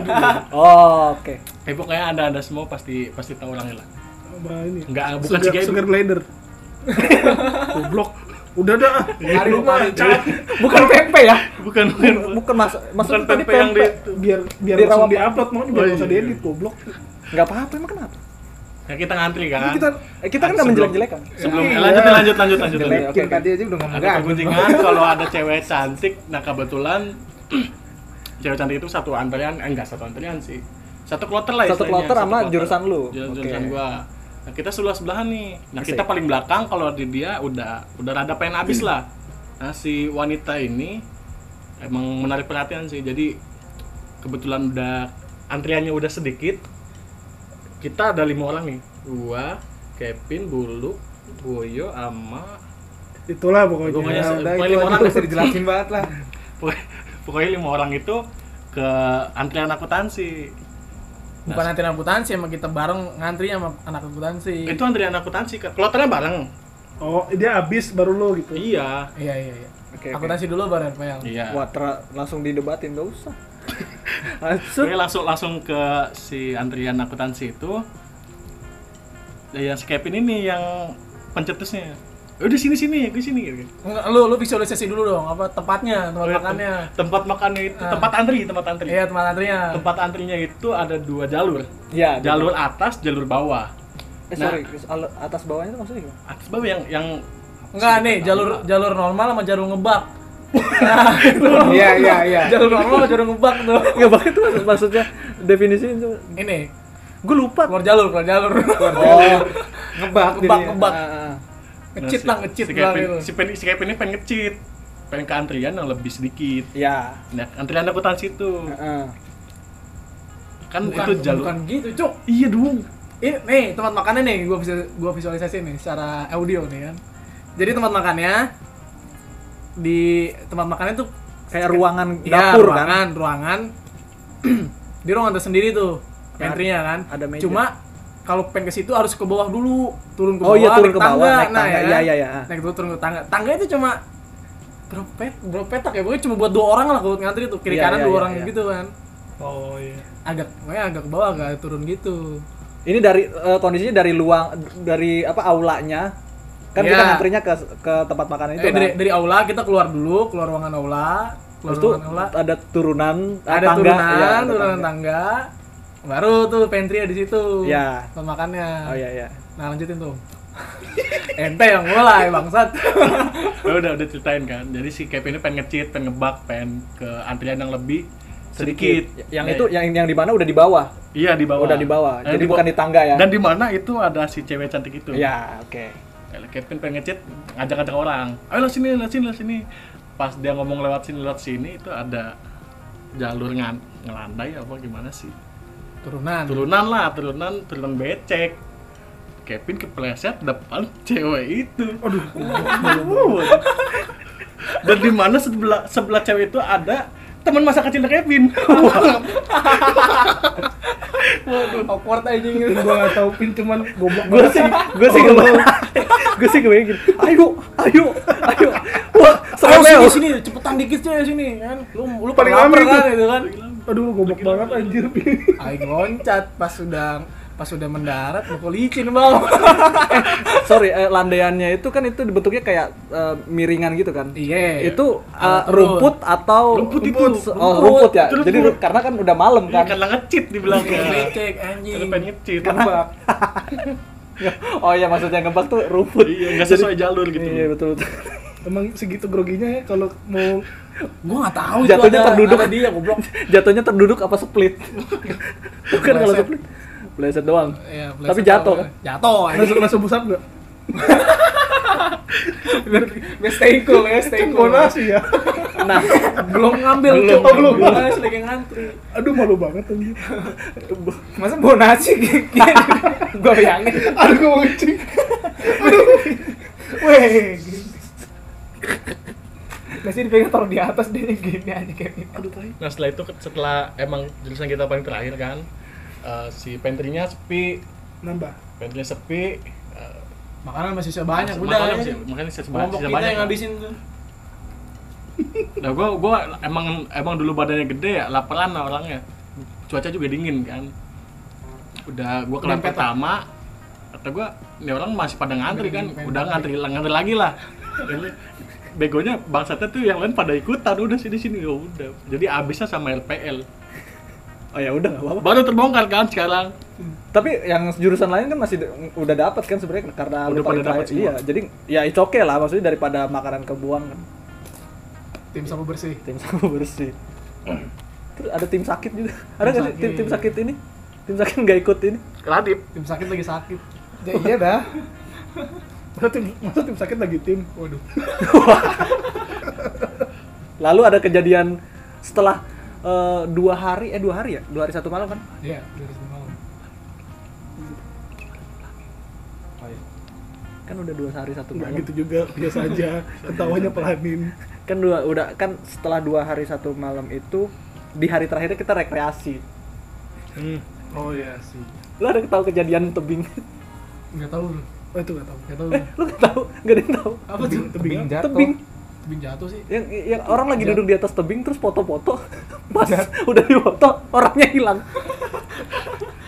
oh, oke
eh pokoknya ada ada semua pasti pasti tahu orangnya lah
Apa ini?
nggak bukan si
Sugar,
Gaby
sugar
[laughs]
glider. Goblok. Udah dah.
Lari
Lu
kemarin.
mah,
bukan pempek ya
bukan bukan
bukan mas
bukan
maksudnya tadi
pempek yang di
pempek
biar biar
Di
langsung
rawat.
diupload mau biar
Oh,
nggak usah
iya.
diedit goblok.
nggak apa-apa emang kenapa
Nah, kita ngantri
Ini
kan
kita
Eh, kita kan nggak
Sebelum-
menjelek-jelekan
sebelum
Iya.
eh, lanjut lanjut lanjut lanjut, lanjut.
Oke,
Bikin
oke.
tadi aja udah ngomong
ada
gak.
[laughs]
pergunjingan kalau ada cewek cantik nah kebetulan [clears throat] cewek cantik itu satu antrean eh, enggak satu antrean sih satu kloter lah
Satu
istilahnya,
kloter sama
kloter.
jurusan lu?
Jur-
Oke.
jurusan gua nah kita sebelah sebelahan nih nah kita paling belakang kalau di dia udah udah rada pengen habis lah nah si wanita ini emang menarik perhatian sih jadi kebetulan udah antriannya udah sedikit kita ada lima orang nih gua Kevin Buluk Boyo sama
itulah pokoknya.
Pokoknya
Ya,
se-
udah
pokoknya
itu
lima
aja
orang
nggak usah dijelasin banget lah.
Pokoknya- pokoknya lima orang itu ke antrian akuntansi
Bukan
Nah.
antri akuntansi emang kita bareng ngantri sama anak akuntansi.
itu antrian akuntansi kan kloternya bareng
Oh, dia habis baru lo gitu.
iya
Iya, iya, iya.
Oke, oke.
akuntansi dulu baru RPL.
iya
Wah, ter- langsung didebatin nggak usah. Langsung.
Pokoknya langsung langsung ke si antrian akuntansi itu ya yang si Kevin ini yang pencetusnya udah sini sini gue sini gitu.
Enggak, lu lu visualisasi dulu dong apa tempatnya, tempat
Oh, ya, tem-
makannya.
tempat makannya itu
Ah.
tempat antri tempat antri
Iya, tempat antrinya.
tempat antrinya itu ada dua jalur
Iya,
jalur atas jalur bawah
Eh, sorry, al- atas bawahnya itu maksudnya gimana? [laughs]
atas bawah yang yang
Enggak nih, jalur jalur normal sama jalur ngebak.
[laughs] Iya, iya, iya.
Jalur normal sama jalur ngebak tuh.
Enggak banget tuh maksud- maksudnya definisi itu.
Ini,
Gue lupa.
keluar jalur, keluar jalur.
Oh, ngebak,
Ngebak,
jadinya.
ngebak.
Ah, ah.
Ngecit
si-
lah, ngecit
si
lah
Kevin-
gitu.
si, Pen- si Kevin ini pengen ngecit pengen ke antrian yang lebih sedikit
Ya.
nah antrian angkutan situ
Heeh.
kan
Bukan,
itu jalur
bukan gitu, Cuk.
iya dong
Ini nih, tempat makannya nih gua visu- gua visualisasi nih secara audio nih kan. Jadi tempat makannya di tempat makannya tuh
Kayak ruangan
Iya,
dapur kan.
ruangan, ruangan. [clears throat] di ruangan tersendiri tuh, pantry-nya kan.
Ada meja.
Cuma kalau pengen ke situ harus ke bawah dulu, turun ke
Oh
bawah,
iya, turun
naik
ke bawah,
tangga.
naik tangga.
kan?
Iya, iya, iya.
Naik dulu turun ke tangga. Tangga itu cuma berapa pet- berapa petak ya? Pokoknya cuma buat dua orang lah kalau ngantri tuh, kiri
Iya,
kanan
iya,
dua
iya,
orang
iya.
gitu kan.
Oh [laughs] iya.
Agak pokoknya agak ke bawah, agak turun gitu.
Ini dari eh, kondisinya dari luang dari apa aulanya. Kan
Iya.
kita ngantrinya ke ke tempat makan itu
Eh,
kan.
dari, dari aula kita keluar dulu, keluar ruangan aula, keluar
Terus tuh
ruangan aula.
ada turunan, eh,
Ada
tangga,
turunan,
iya, ada
turunan
tangga.
tangga. Baru tuh pantry di situ.
Iya.
Tempat makannya.
Oh iya iya.
Nah lanjutin tuh. [laughs] Ente yang mulai
[laughs]
bangsat.
Lo Ya udah udah ceritain kan jadi si Kevin ini pengen ngecit pengen ngebak pengen ke antrian yang lebih sedikit,
Yang
Nah,
itu yang yang di mana udah di bawah.
iya di bawah
Oh, Udah di bawah.
Dan
Jadi bukan
ba-
di tangga ya.
dan di mana itu ada si cewek cantik itu
Iya, oke.
Kayak Kevin pengen ngecit ngajak-ngajak orang ayo lo sini lo sini lo sini pas dia ngomong lewat sini lewat sini itu ada jalur ngan ngelandai apa gimana sih
Turunan.
turunan lah turunan turunan becek Kevin kepleset depan [laughs] cewek itu aduh [laughs] dan di mana sebelah sebelah cewek itu ada teman masa kecilnya Kevin
Awkward aja
Gue nggak tahu pin cuman goblok.
gue sih gue sih [laughs] kebayang gue Oh. sih kebayang gini, ayo ayo ayo wah serem
Ayo sini
ya
sini cepetan dikit aja sini kan. Lu lu
Paling
paling
lama
lapar
itu.
kan itu kan.
Aduh goblok banget anjir [laughs] pin.
Aing loncat pas sudah pas sudah mendarat lu licin bang. [laughs]
sorry eh, landaiannya itu kan itu bentuknya kayak eh, miringan gitu kan
Iya.
itu eh,
Alat turun.
rumput atau
Rumput itu,
oh
rumput.
rumput ya
Itu rumput.
jadi ru- karena kan udah malam
Iya,
kan
karena ngecit di
Iya.
belakang
Becek
karena
anjing.
pengen ngecit
Ngebak.
[laughs] oh iya maksudnya ngebak tuh rumput
iya nggak sesuai jalur gitu
iya betul betul [laughs]
Emang segitu groginya ya kalau mau
Gua enggak tahu itu
Jatuhnya
ada-
terduduk.
ada dia
[laughs]
goblok.
jatuhnya terduduk apa split [laughs] bukan kalau
Bleset.
split Bleset doang
Iya,
tapi
pleset
jatuh
tau.
kan
Jatuh anjing.
masuk masuk pusat nggak?
Biar stay cool ya, stay
Kan
cool.
bonasi ya.
nah
Belum ngambil,
Belum.
Cuk.
Belum.
Bonasi lagi ngantri.
Aduh malu banget anjir.
Masa bonasi gitu?
[laughs]
Gua bayangin.
Aduh gue mau kencing.
Weh. Masih dipegang taruh di atas dia yang gini aja kayak gini. Aduh tai.
Nah setelah itu setelah emang jurusan kita paling terakhir kan eh, si pantry-nya sepi,
Nambah.
pantry-nya sepi. eh,
Makanan masih sisa banyak udah.
makanan
ya.
sih- Makanya sisa banyak.
Kelompok
sisa
kita
banyak.
yang ngabisin tuh.
kan. Nah gua gua emang emang dulu badannya gede ya, laparan lah orangnya. Cuaca juga dingin kan. Udah gua kelar
Dempet lah.
pertama kata gua ini orang masih pada ngantri kan.
Dempet.
Udah ngantri ngantri lagi lah. Ini Begonya bangsatnya tuh yang lain pada ikutan udah sini sini ya udah. Jadi abisnya sama RPL.
oh ya udah nggak apa-apa
Baru terbongkar kan sekarang.
tapi yang jurusan lain kan masih d- udah dapat kan sebenarnya karena lu
Udah
paling
pada
terakhir.
dapat semua.
iya jadi ya itu oke lah maksudnya daripada makanan kebuang kan
Tim sapu bersih.
tim sapu
[clears throat]
bersih terus ada tim sakit juga ada nggak sih tim tim sakit ini tim sakit nggak ikut ini
Radip
Tim sakit lagi sakit.
Ya iya dah. Masa tim, masa tim sakit lagi tim? Waduh.
lalu ada kejadian setelah eh, dua hari eh dua hari ya dua hari satu malam kan
Iya, dari sini malam.
kan udah dua hari satu
Nggak
malam
gitu juga, biasa aja. Ketawanya pelanin.
kan dua udah kan setelah dua hari satu malam itu di hari terakhirnya kita rekreasi
Oh iya sih.
lu ada tahu kejadian tebing
Enggak tahu lu.
Oh itu nggak tahu.
Enggak tahu.
lu nggak tahu nggak ada yang tahu
Apa tuh?
Tebing
jatuh.
tebing.
Tebing jatuh sih.
yang, yang orang lagi duduk di atas [laughs] tebing terus foto-foto pas udah dipoto orangnya hilang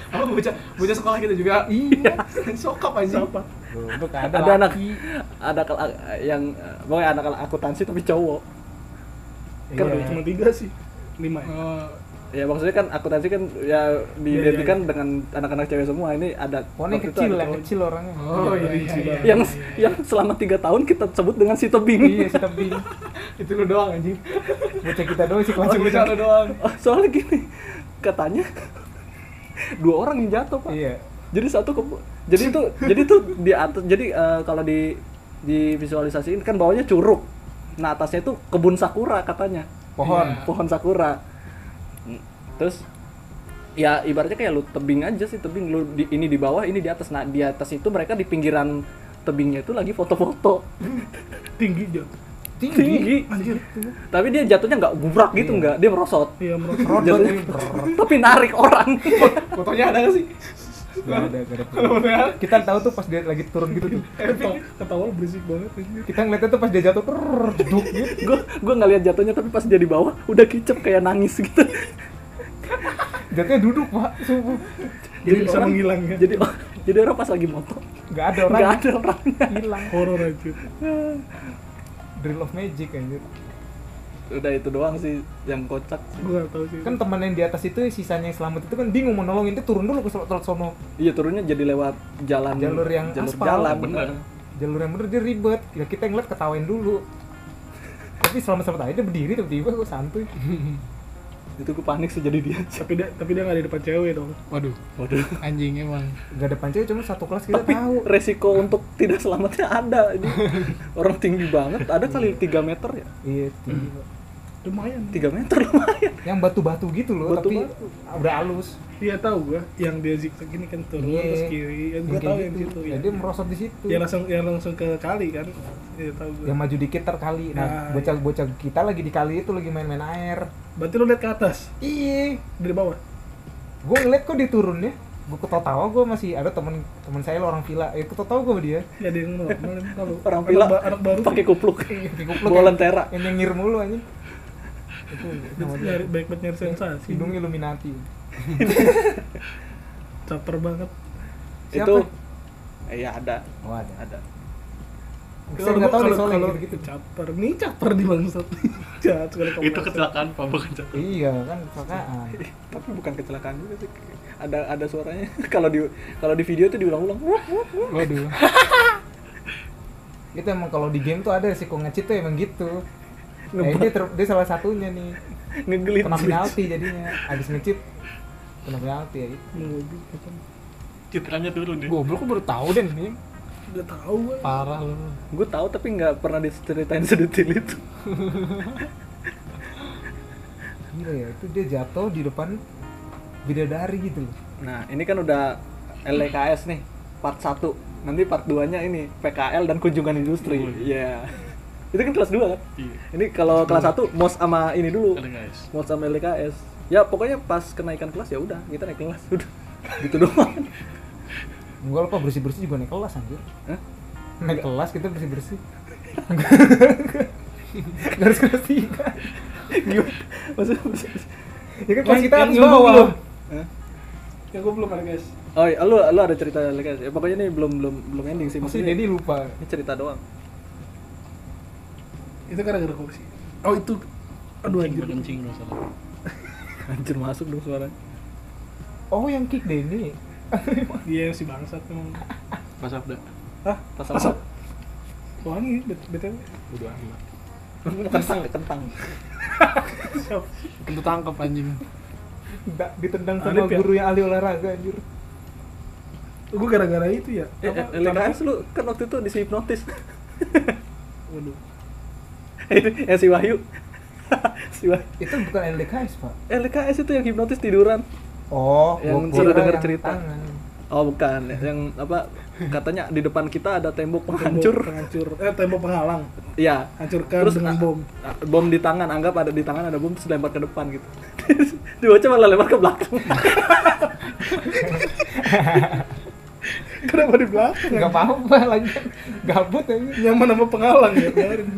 apa bocah bocah sekolah kita juga iya [laughs] sokap aja
Siapa?
Untuk
ada, anak ada kela- yang mau anak akuntansi tapi cowok
Iya,
Kan ada
Iya.
cuma tiga sih. Lima ya.
Oh,
ya maksudnya kan akuntansi kan
Iya,
ya diidentikan dengan anak-anak cewek semua ini ada
Pokoknya
waktu itu
kecil
ada
lah,
cowok.
kecil orangnya.
oh iya, iya, iya.
yang yang selama tiga tahun kita sebut dengan si tebing
Iya, si tebing.
itu lu doang anjing [laughs]
Bocah kita doang sih kelas
cuma
bocah.
lu doang
Oh, soalnya gini katanya dua orang yang jatuh pak
Iya.
jadi satu ke- jadi itu jadi itu di atas jadi eh, kalau di divisualisasiin kan bawahnya curug nah atasnya itu kebun sakura katanya
Pohon.
Iya.
pohon sakura Mm, terus ya ibaratnya kayak lu tebing aja sih tebing lu di, ini di bawah ini di atas nah di atas itu mereka di pinggiran tebingnya itu lagi foto-foto
Tinggi jauh.
Tinggi.
tinggi
Anjir.
tapi dia jatuhnya nggak gubrak gitu nggak dia merosot
Iya merosot.
Rodot
Jatuhnya-
ini. Brrr.
[laughs] tapi narik orang [laughs]
fotonya ada gak sih
Gak ada, gak ada. Kita tahu tuh pas dia lagi turun gitu tuh.
Ketawa- Ketawa lu berisik banget anjir.
Kita ngeliatnya tuh pas dia jatuh, brrr, jeduk gitu.
gue gue nggak lihat jatuhnya tapi pas dia di bawah udah kicep kayak nangis gitu
Jatuhnya duduk, Pak. Sumpah.
Jadi bisa
orang-
menghilang ya.
jadi oh, jadi orang pas lagi moto
Gak ada orang
nggak ada orangnya
hilang.
horor anjir.
Drill of Magic anjir.
udah itu doang sih yang kocak
Gua enggak tahu sih.
Kan teman yang di atas itu sisanya yang selamat itu kan bingung mau nolongin dia turun dulu ke slot sono.
iya turunnya jadi lewat jalan
Jalur yang
jalur
aspal.
jalan
Bener.
Jalur yang bener dia ribet. Ya kita yang ngeliat ketawain dulu. Tapi selamat-selamat aja dia berdiri tiba-tiba gue santuy.
itu gue panik sih jadi dia [laughs]
Tapi dia tapi dia enggak ada di depan cewek dong.
waduh
waduh
anjing emang
Gak ada pancanya cuma satu kelas kita
tapi
tahu.
resiko untuk tidak selamatnya ada
[laughs]
ini orang tinggi banget ada kali 3 meter ya
Iya, tinggi. Pak.
Lumayan.
3 meter lumayan
Yang batu-batu gitu loh, tapi
Batu-batu.
udah halus.
Iya tahu gua yang dia zigzag ini kan turun
Iya.
terus kiri. Ya,
Yang
gua
kayak
tahu yang
gitu.
situ
Ya,
ya.
dia merosot di situ.
Yang langsung yang langsung ke kali kan. Iya tahu gua.
yang maju dikit terkali. Nah,
Nah,
bocah-bocah kita lagi di kali itu lagi main-main air.
Berarti lu lihat ke atas
Iya,
dari bawah.
gue ngeliat kok dia turun ya. Gue ketawa gue masih ada teman teman saya lah orang villa. Ya ketawa gue sama dia.
Ya ada yang normal emang kalau
orang
anak
pila
ba- anak baru
pakai kupluk
Iya, kayak kupluk
bolan
ya.
tera
Yang nyengir mulu aja. Itu nama
tuh
dia.
nyari baik banget nyari sensasi.
Hidung Illuminati.
Caper banget.
Siapa?
itu iya ada
Oh ada.
ada
Saya nggak tahu nih soalnya
kalau gitu
gitu-gitu.
caper. Nih caper di bangsat. [laughs] Jahat sekali kamu.
Itu kecelakaan Pak, bukan jatuh.
Iya kan kecelakaan.
tapi bukan kecelakaan juga sih ada ada suaranya [laughs] kalau di kalau di video tuh diulang-ulang [laughs] Wup, wup, wup.
Waduh. itu emang kalau di game tuh ada resiko ngecit tuh emang gitu. Nah, ini
Ngebak.
ter- dia salah satunya nih.
ngegelit
Kena penalti jadinya. Abis ngecit kena penalti ya.
Ngobrol, apa?
Citranya turun deh.
goblok gue baru tahu deh nih
Udah tahu gua.
parah lu
gue tahu tapi nggak pernah diceritain [laughs] sedetil itu
Gila ya, itu dia jatuh di depan bidadari gitu loh.
nah ini kan udah LKS nih part 1 nanti part 2 nya ini PKL dan kunjungan industri iya [laughs] itu kan kelas 2 kan
Iya.
ini kalau kelas 1 mos sama ini dulu
Ada guys.
mos sama LKS ya pokoknya pas kenaikan kelas ya udah kita naik kelas udah gitu [laughs] doang
Gua lupa bersih-bersih juga naik kelas anjir.
Hah?
Naik kelas kita bersih-bersih. Nggak harus kelas tiga.
Gimana? maksudnya
Ya kan kelas
Yang-
kita
yang
harus
ilmu
bawah.
belum.
Hah?
Ya gua belum ada guys.
oh iya, lu lu ada cerita LKS ya pokoknya ini belum belum belum ending sih
Masih
maksudnya
Dedi lupa.
ini cerita doang
Itu karena gara korupsi. Oh itu. Aduh
Kencing,
anjir.
kencing nggak salah.
[laughs] anjir masuk dong suaranya
Oh yang kick Denny.
Dia si bangsat emang.
Pas Abda.
Hah?
pas [laughs] apa
Wangi bet- btw.
Udah amat.
kentang kentang
Siap.
kentut tangkap anjing
Nggak,
Ada,
ditendang sama
Pia.
guru yang ahli olahraga anjir.
Gua gara-gara itu ya.
Eh,
apa,
eh, LKS lu kan waktu itu disi hipnotis.
Waduh.
[laughs] eh si Wahyu. [laughs] si Wahyu.
Itu bukan LDKS, Pak.
Eh, LKS itu yang hipnotis tiduran.
Oh,
Yang sudah
gua kira
dengar
yang
cerita.
tangan.
Oh, bukan. Yang apa katanya di depan kita ada tembok
Tembok
penghancur.
Penghancur. Eh tembok penghalang.
Iya.
Hancurkan
Terus, ah,
dengan bom.
Ah, Bom di tangan, anggap ada di tangan ada bom terus lempar ke depan gitu. [laughs] Dibaca malah lempar ke
[laughs]
belakang.
Kenapa di belakang?
Enggak apa-apa lanjut. Gabut aja.
Nyaman sama penghalang ya biarin.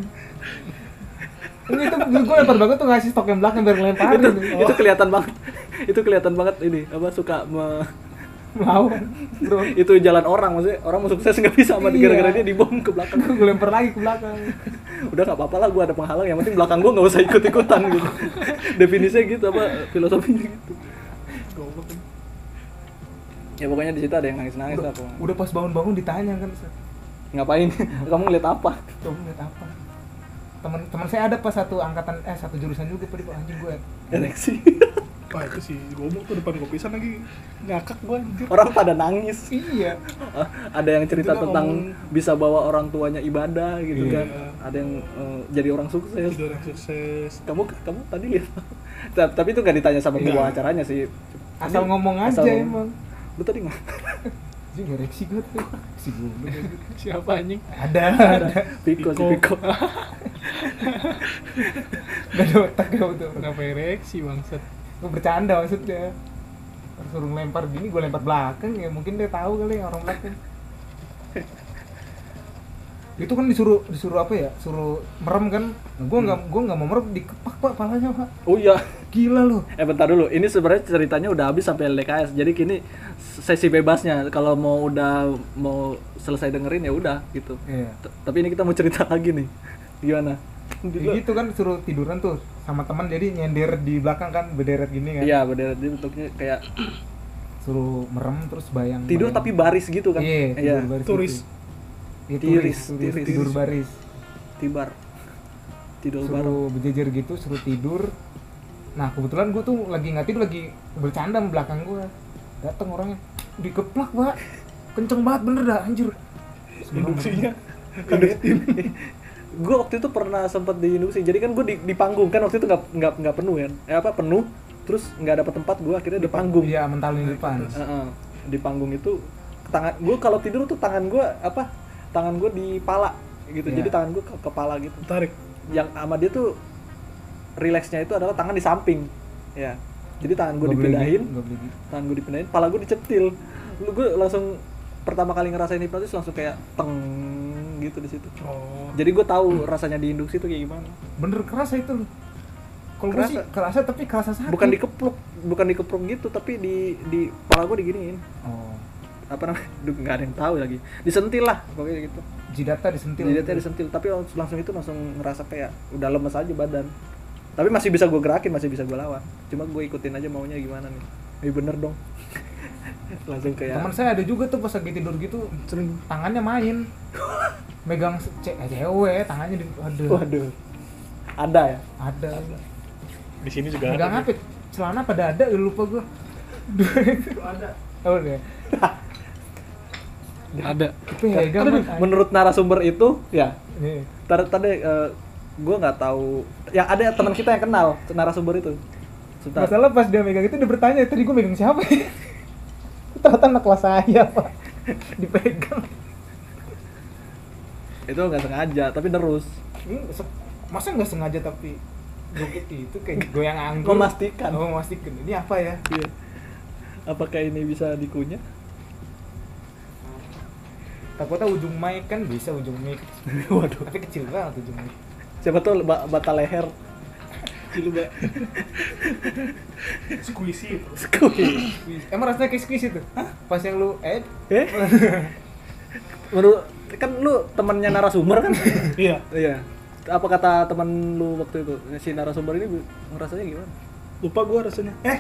Ini itu gue lempar banget tuh ngasih
oh.
stok yang belakang biar ngelemparin.
[laughs] itu, itu kelihatan banget. Itu kelihatan banget ini apa suka me-
melawan bro
itu jalan orang maksudnya orang mau sukses nggak bisa sama
Iya.
gara-gara dia dibom ke belakang [laughs]
gue lempar lagi ke belakang
udah nggak apa-apa lah gue ada penghalang yang penting belakang gue nggak usah ikut-ikutan [laughs] gitu definisinya gitu apa filosofinya gitu ya pokoknya di situ ada yang nangis-nangis
udah,
lah pokoknya.
udah pas bangun-bangun ditanya kan Ustaz.
ngapain [laughs] kamu ngeliat apa [laughs]
coba lihat apa teman teman saya ada pas satu angkatan eh satu jurusan juga tadi kok anjing gue
ereksi
Wah itu sih, gombok tuh depan kopisan lagi ngakak gua anjir.
orang pada nangis
iya
Ah, [laughs] ada yang cerita
Itu kan
tentang bisa bawa orang tuanya ibadah gitu kan
Iya.
ada yang eh, jadi orang sukses
Itu orang sukses.
kamu kamu tadi lihat [laughs] Ta- tapi itu gak ditanya sama
Enggak.
pembawa acaranya sih
Iya. asal ngomong aja
asal ngomong.
emang
lu tadi
[laughs]
nggak [laughs]
anjing ereksi gue tuh si gue
Siapa anjing?
[laughs]
ada ada
piko sih piko
gak ada otak gue tuh
Kenapa ereksi bangsat?
gue bercanda maksudnya Terus suruh lempar gini gue lempar belakang ya mungkin dia tahu kali yang orang
[laughs]
belakang itu kan disuruh disuruh apa ya suruh merem kan gue
Hmm.
nggak gue nggak mau merem dikepak pak palanya pak
oh iya
gila loh
eh bentar dulu ini sebenarnya ceritanya udah habis sampai LDKS jadi kini sesi bebasnya kalau mau udah mau selesai dengerin ya udah gitu
Iya.
T- tapi ini kita mau cerita [laughs] lagi nih gimana
Ya gitu kan suruh tiduran tuh sama teman jadi nyender di belakang kan berderet gini kan.
iya bener dia bentuknya kayak
Suruh merem terus bayang.
tidur tapi baris gitu kan
Iya,
iya
tidur baris.
Turis.
gitu. Iya,
Tiris,
turis, turis,
tiris.
tidur baris.
tibar tidur bareng
Suruh berjejer gitu, suruh tidur. Nah, kebetulan gue tuh lagi nggak tidur lagi bercanda sama belakang gue. Dateng orangnya dikeplak, Pak. Kenceng banget bener dah, anjir.
Induksinya.
[laughs] gue waktu itu pernah sempat di induksi jadi kan gue di, di panggung kan waktu itu nggak nggak nggak penuh kan eh apa penuh terus nggak dapat tempat gue akhirnya di panggung
Iya, mental di depan.
Heeh. di panggung itu tangan gue kalau tidur tuh tangan gue apa tangan gue di pala gitu
Iya. Hmm.
jadi tangan gue ke kepala gitu
Tarik.
yang sama dia tuh rileksnya itu adalah tangan di samping ya jadi tangan gue
Nggak boleh
dipindahin
gitu, nggak boleh gitu.
tangan gue dipindahin, pala gue dicetil. Lu gue langsung pertama kali ngerasain hipnotis langsung kayak teng gitu di situ.
Oh.
Jadi gue tahu rasanya di induksi itu kayak gimana.
Bener kerasa itu. loh. Kalau gue sih
Kerasa.
kerasa tapi kerasa sakit.
Bukan dikepluk, bukan dikepluk gitu, tapi di di pala gue diginiin.
Oh.
Apa namanya? [laughs] Duh, nggak ada yang tahu lagi. Disentil lah pokoknya gitu.
Jidatnya disentil.
Jidatnya disentil, tapi langsung langsung itu langsung ngerasa kayak udah lemes aja badan. Tapi masih bisa gue gerakin, masih bisa gue lawan. Cuma gue ikutin aja maunya gimana nih. Eh bener dong. [laughs] langsung kayak
Teman saya ada juga tuh pas lagi tidur gitu,
Sering.
tangannya main. Megang se- ce- eh, cewek, tangannya di aduh.
waduh. Ada ya?
Ada.
Di sini juga
Megang
ada.
apa? Celana apa dada ya lupa gua. ada. [laughs] Oh, iya.
Ada.
Pegang
Aduh,
Mas.
Kan menurut narasumber itu ya
Nih.
tar- tadi gue nggak tahu ya ada teman kita yang kenal narasumber itu sebentar
Masalah pas dia megang itu dia bertanya, tadi gua megang siapa [laughs] ya? Ternyata anak kelas saya, Pak. [laughs] Dipegang.
itu nggak sengaja tapi terus
Hmm, se- Masa nggak sengaja tapi joget itu
[laughs]
kayak goyang anggur.
memastikan
Oh, memastikan. Ini apa ya?
Iya. apakah ini bisa dikunyah
Takutnya ujung mic kan bisa ujung
[laughs]
mic.
waduh
Tapi kecil banget ujung mic.
siapa tuh ba- bata leher Cilu ba-
[laughs] Squishy.
Sekui.
Emang rasanya kayak squeeze itu? Pas yang lu eh
[laughs] eh menurut kan lu temannya narasumber [laughs] kan
Iya.
iya apa kata teman lu waktu itu si narasumber ini bu- ngerasanya gimana
Lupa gua rasanya.
[laughs]
Eh.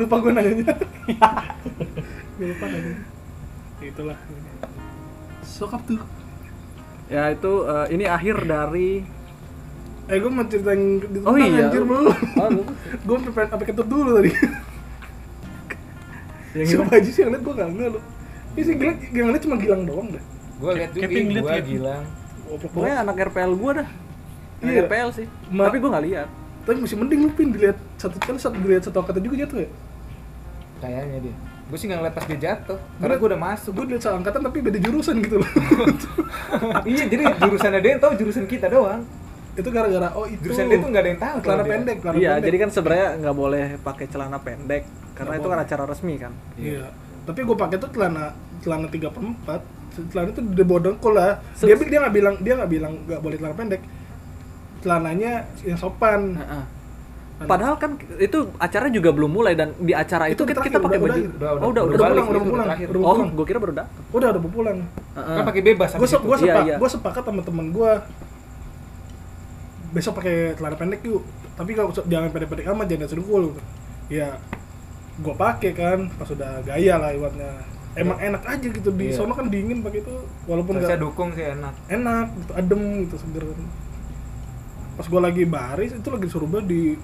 lupa gua
[laughs]
nanyanya. gua lupa nanya. Itulah. Sokap tuh.
ya itu eh, ini akhir dari
Eh gua mau ceritain tentang
Oh iya.
anjir belum.
Oh, lu-
gua sampai pengen sampai kentut dulu tadi.
yang
Siapa
gimana?
aja sih yang liat gua kagak lu. Ini sih Gilang, yang liat cuma Gilang doang dah.
gue liat juga
Kevin liat
gue
ya?
gitu.
bilang
Goblok
Pokoknya
banget.
anak RPL gua dah. Anak
Iya.
RPL sih.
Ma-
Tapi gua nggak lihat.
Tapi masih mending lu pin dilihat satu kali satu dilihat satu angkatan juga jatuh ya.
kayaknya dia gue sih nggak ngeliat pas dia jatuh karena gue udah masuk
[laughs]
[laughs]
Gua dilihat satu angkatan tapi beda jurusan gitu loh. [laughs]
iya jadi jurusannya dia yang tahu jurusan kita doang
itu gara-gara oh itu Ah,
jurusan dia tuh nggak ada yang tahu
celana
kalau dia.
pendek, celana
Iya,
pendek.
jadi kan sebenarnya nggak boleh pakai celana pendek karena
Nggak
itu kan
boleh.
acara resmi kan.
Iya. Tapi gue pakai tuh celana celana tiga per empat. Celana itu udah bodongkol lah.
Se-
Dia bi- dia nggak bilang dia nggak bilang nggak boleh celana pendek. Celananya yang sopan.
Heeh. Padahal kan itu acara juga belum mulai dan di acara itu,
Itu
kita,
terakhir,
kita pakai
udah-
baju.
udah-
udah-
oh udah
udah-
udah,
udah
balik.
pulang, udah
gitu.
pulang,
udah
oh,
pulang.
gue kira baru datang.
udah udah mau pulang
Heeh.
kan pakai bebas
gue
habis
se
itu.
Ah. gua
Iya,
sepa-
iya.
gua sepakat sama temen gue besok pakai celana pendek yuk tapi kalau usah- jangan pendek-pendek amat jangan serukul ya gue pakai kan pas udah gaya lah ibaratnya emang enak aja gitu di
Iya.
sono kan dingin pakai itu walaupun
Terusnya
nggak
dukung sih enak
enak gitu adem gitu seger kan pas gue lagi baris itu lagi suruh gua di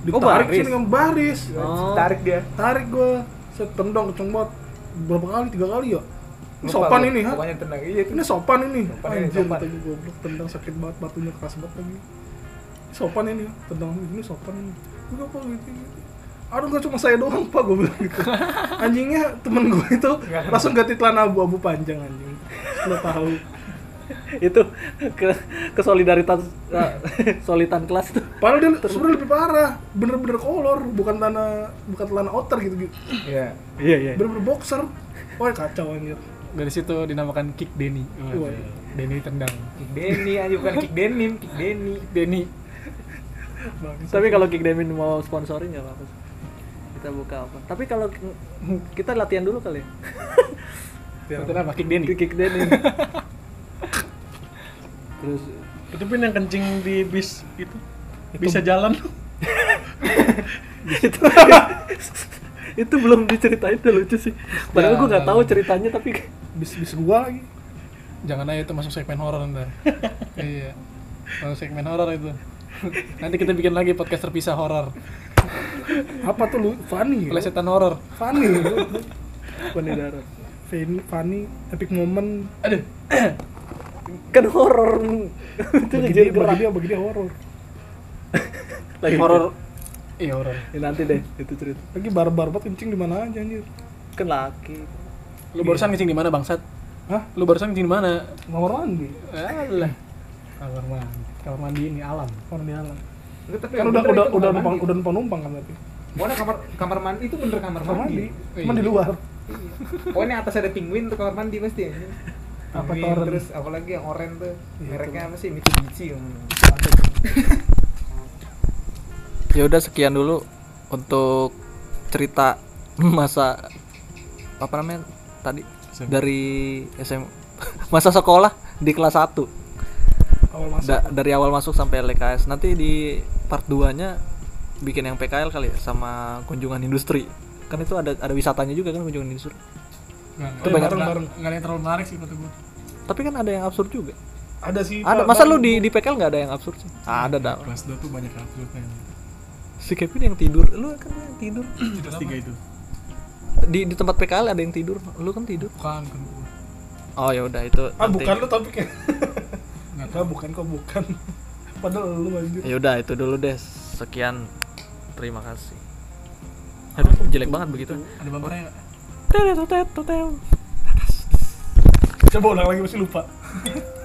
ditarik
Oh, baris?
sini sama baris
Oh.
tarik dia
tarik gue setendang kenceng banget berapa kali tiga kali ya ini
Lupa
sopan
gua,
ini Nah. ha
pokoknya tenang iya itu
ini sopan ini
Sopan ini,
anjir
sopan.
kata gue goblok tendang sakit banget batunya keras banget lagi Ini sopan ini tendang ini sopan ini gue apa gitu, gitu aduh gak cuma saya doang pak gue bilang
[laughs]
gitu anjingnya temen gue itu langsung ganti celana abu-abu panjang anjing lo tahu
itu ke ke solidaritas eh, solitan kelas tuh.
padahal dia sebenarnya lebih parah bener-bener kolor bukan celana bukan celana outer gitu gitu
iya
Iya iya.
bener-bener boxer wah kacau anjir
Dari situ dinamakan kick Denny.
Wah.
Denny tendang.
kick Denny aja bukan kick denim kick Denny
Denny.
Bangsat.
Tapi kalau Kick Demin mau sponsorin nggak apa-apa. sih. Kita buka apa? Tapi kalau kita latihan dulu kali. ya.
Ya.
Betul apa? Kick Denny.
Kick Demin. Terus
Itu pin yang kencing di bis itu. Bisa jalan.
itu Gitu. [laughs] itu belum diceritain udah lucu sih. Padahal
Ya,
gue nggak
nah.
tahu ceritanya tapi
bis bis gua lagi
Jangan aja itu masuk segmen horor [laughs] ntar. iya. Masuk segmen horor itu. Nanti kita bikin lagi podcast terpisah horor.
apa tuh lu funny ya?
Pelesetan horor.
funny [laughs] ya?
Penidara.
Fanny, Fanny, epic moment.
Aduh.
Kan horor. itu
Bagi
jadi
dia, bagi
gerak.
dia, bagi dia horor.
Lagi
horor. Iya horor.
Ya, nanti deh itu cerita.
Lagi barbar banget kencing di mana aja anjir.
Kan laki.
Lu barusan kencing di mana bangsat?
Hah?
Lu barusan kencing di mana?
Kamar mandi.
Alah. Eh, Kamar mandi. Kamar mandi ini alam.
Kamar di alam.
Lu tapi
Kan
yang
udah
Eh, bener
udah
itu
udah
kamar
numpang
mandi.
udah numpang numpang kan tapi.
Pokoknya kamar kamar mandi itu bener kamar
Kamar
mandi.
mandi. Cuman di luar.
Pokoknya atas ada penguin tuh kamar mandi pasti ya.
Apa
Penguin,
torrent?
terus apalagi yang oranye tuh.
Iya,
Mereknya
tuh.
apa sih? Mitsubishi. yang-
ya udah sekian dulu untuk cerita masa apa namanya tadi dari SM [laughs] masa sekolah di kelas 1
Awal masuk.
Da- dari awal masuk sampai LKS nanti di part 2 nya bikin yang PKL kali ya sama kunjungan industri kan itu ada ada wisatanya juga kan kunjungan industri
Nggak,
Itu banyak-
bareng-bareng. Nggak ada yang terlalu menarik sih kata gua.
tapi kan ada yang absurd juga
Ada sih.
ada
Pak,
masa
Bang.
lu di di PKL nggak ada yang absurd sih ada dah
Kelas 2 tuh banyak uploadnya.
si Kevin yang tidur lu kan yang tidur
Kelas tiga itu.
di di tempat PKL ada yang tidur lu kan tidur
Bukan, bukan gua.
oh ya udah itu
Ah
nanti.
bukan lu topiknya.
Nggak
Enggak bukan kok bukan. [laughs] Padahal lu anjir.
Ya udah itu dulu deh. Sekian. Terima kasih. Aduh, jelek banget begitu.
Ada bumpernya nggak?
Tetet, tetet, tetet.
Coba ulang lagi masih lupa. [laughs] Iya.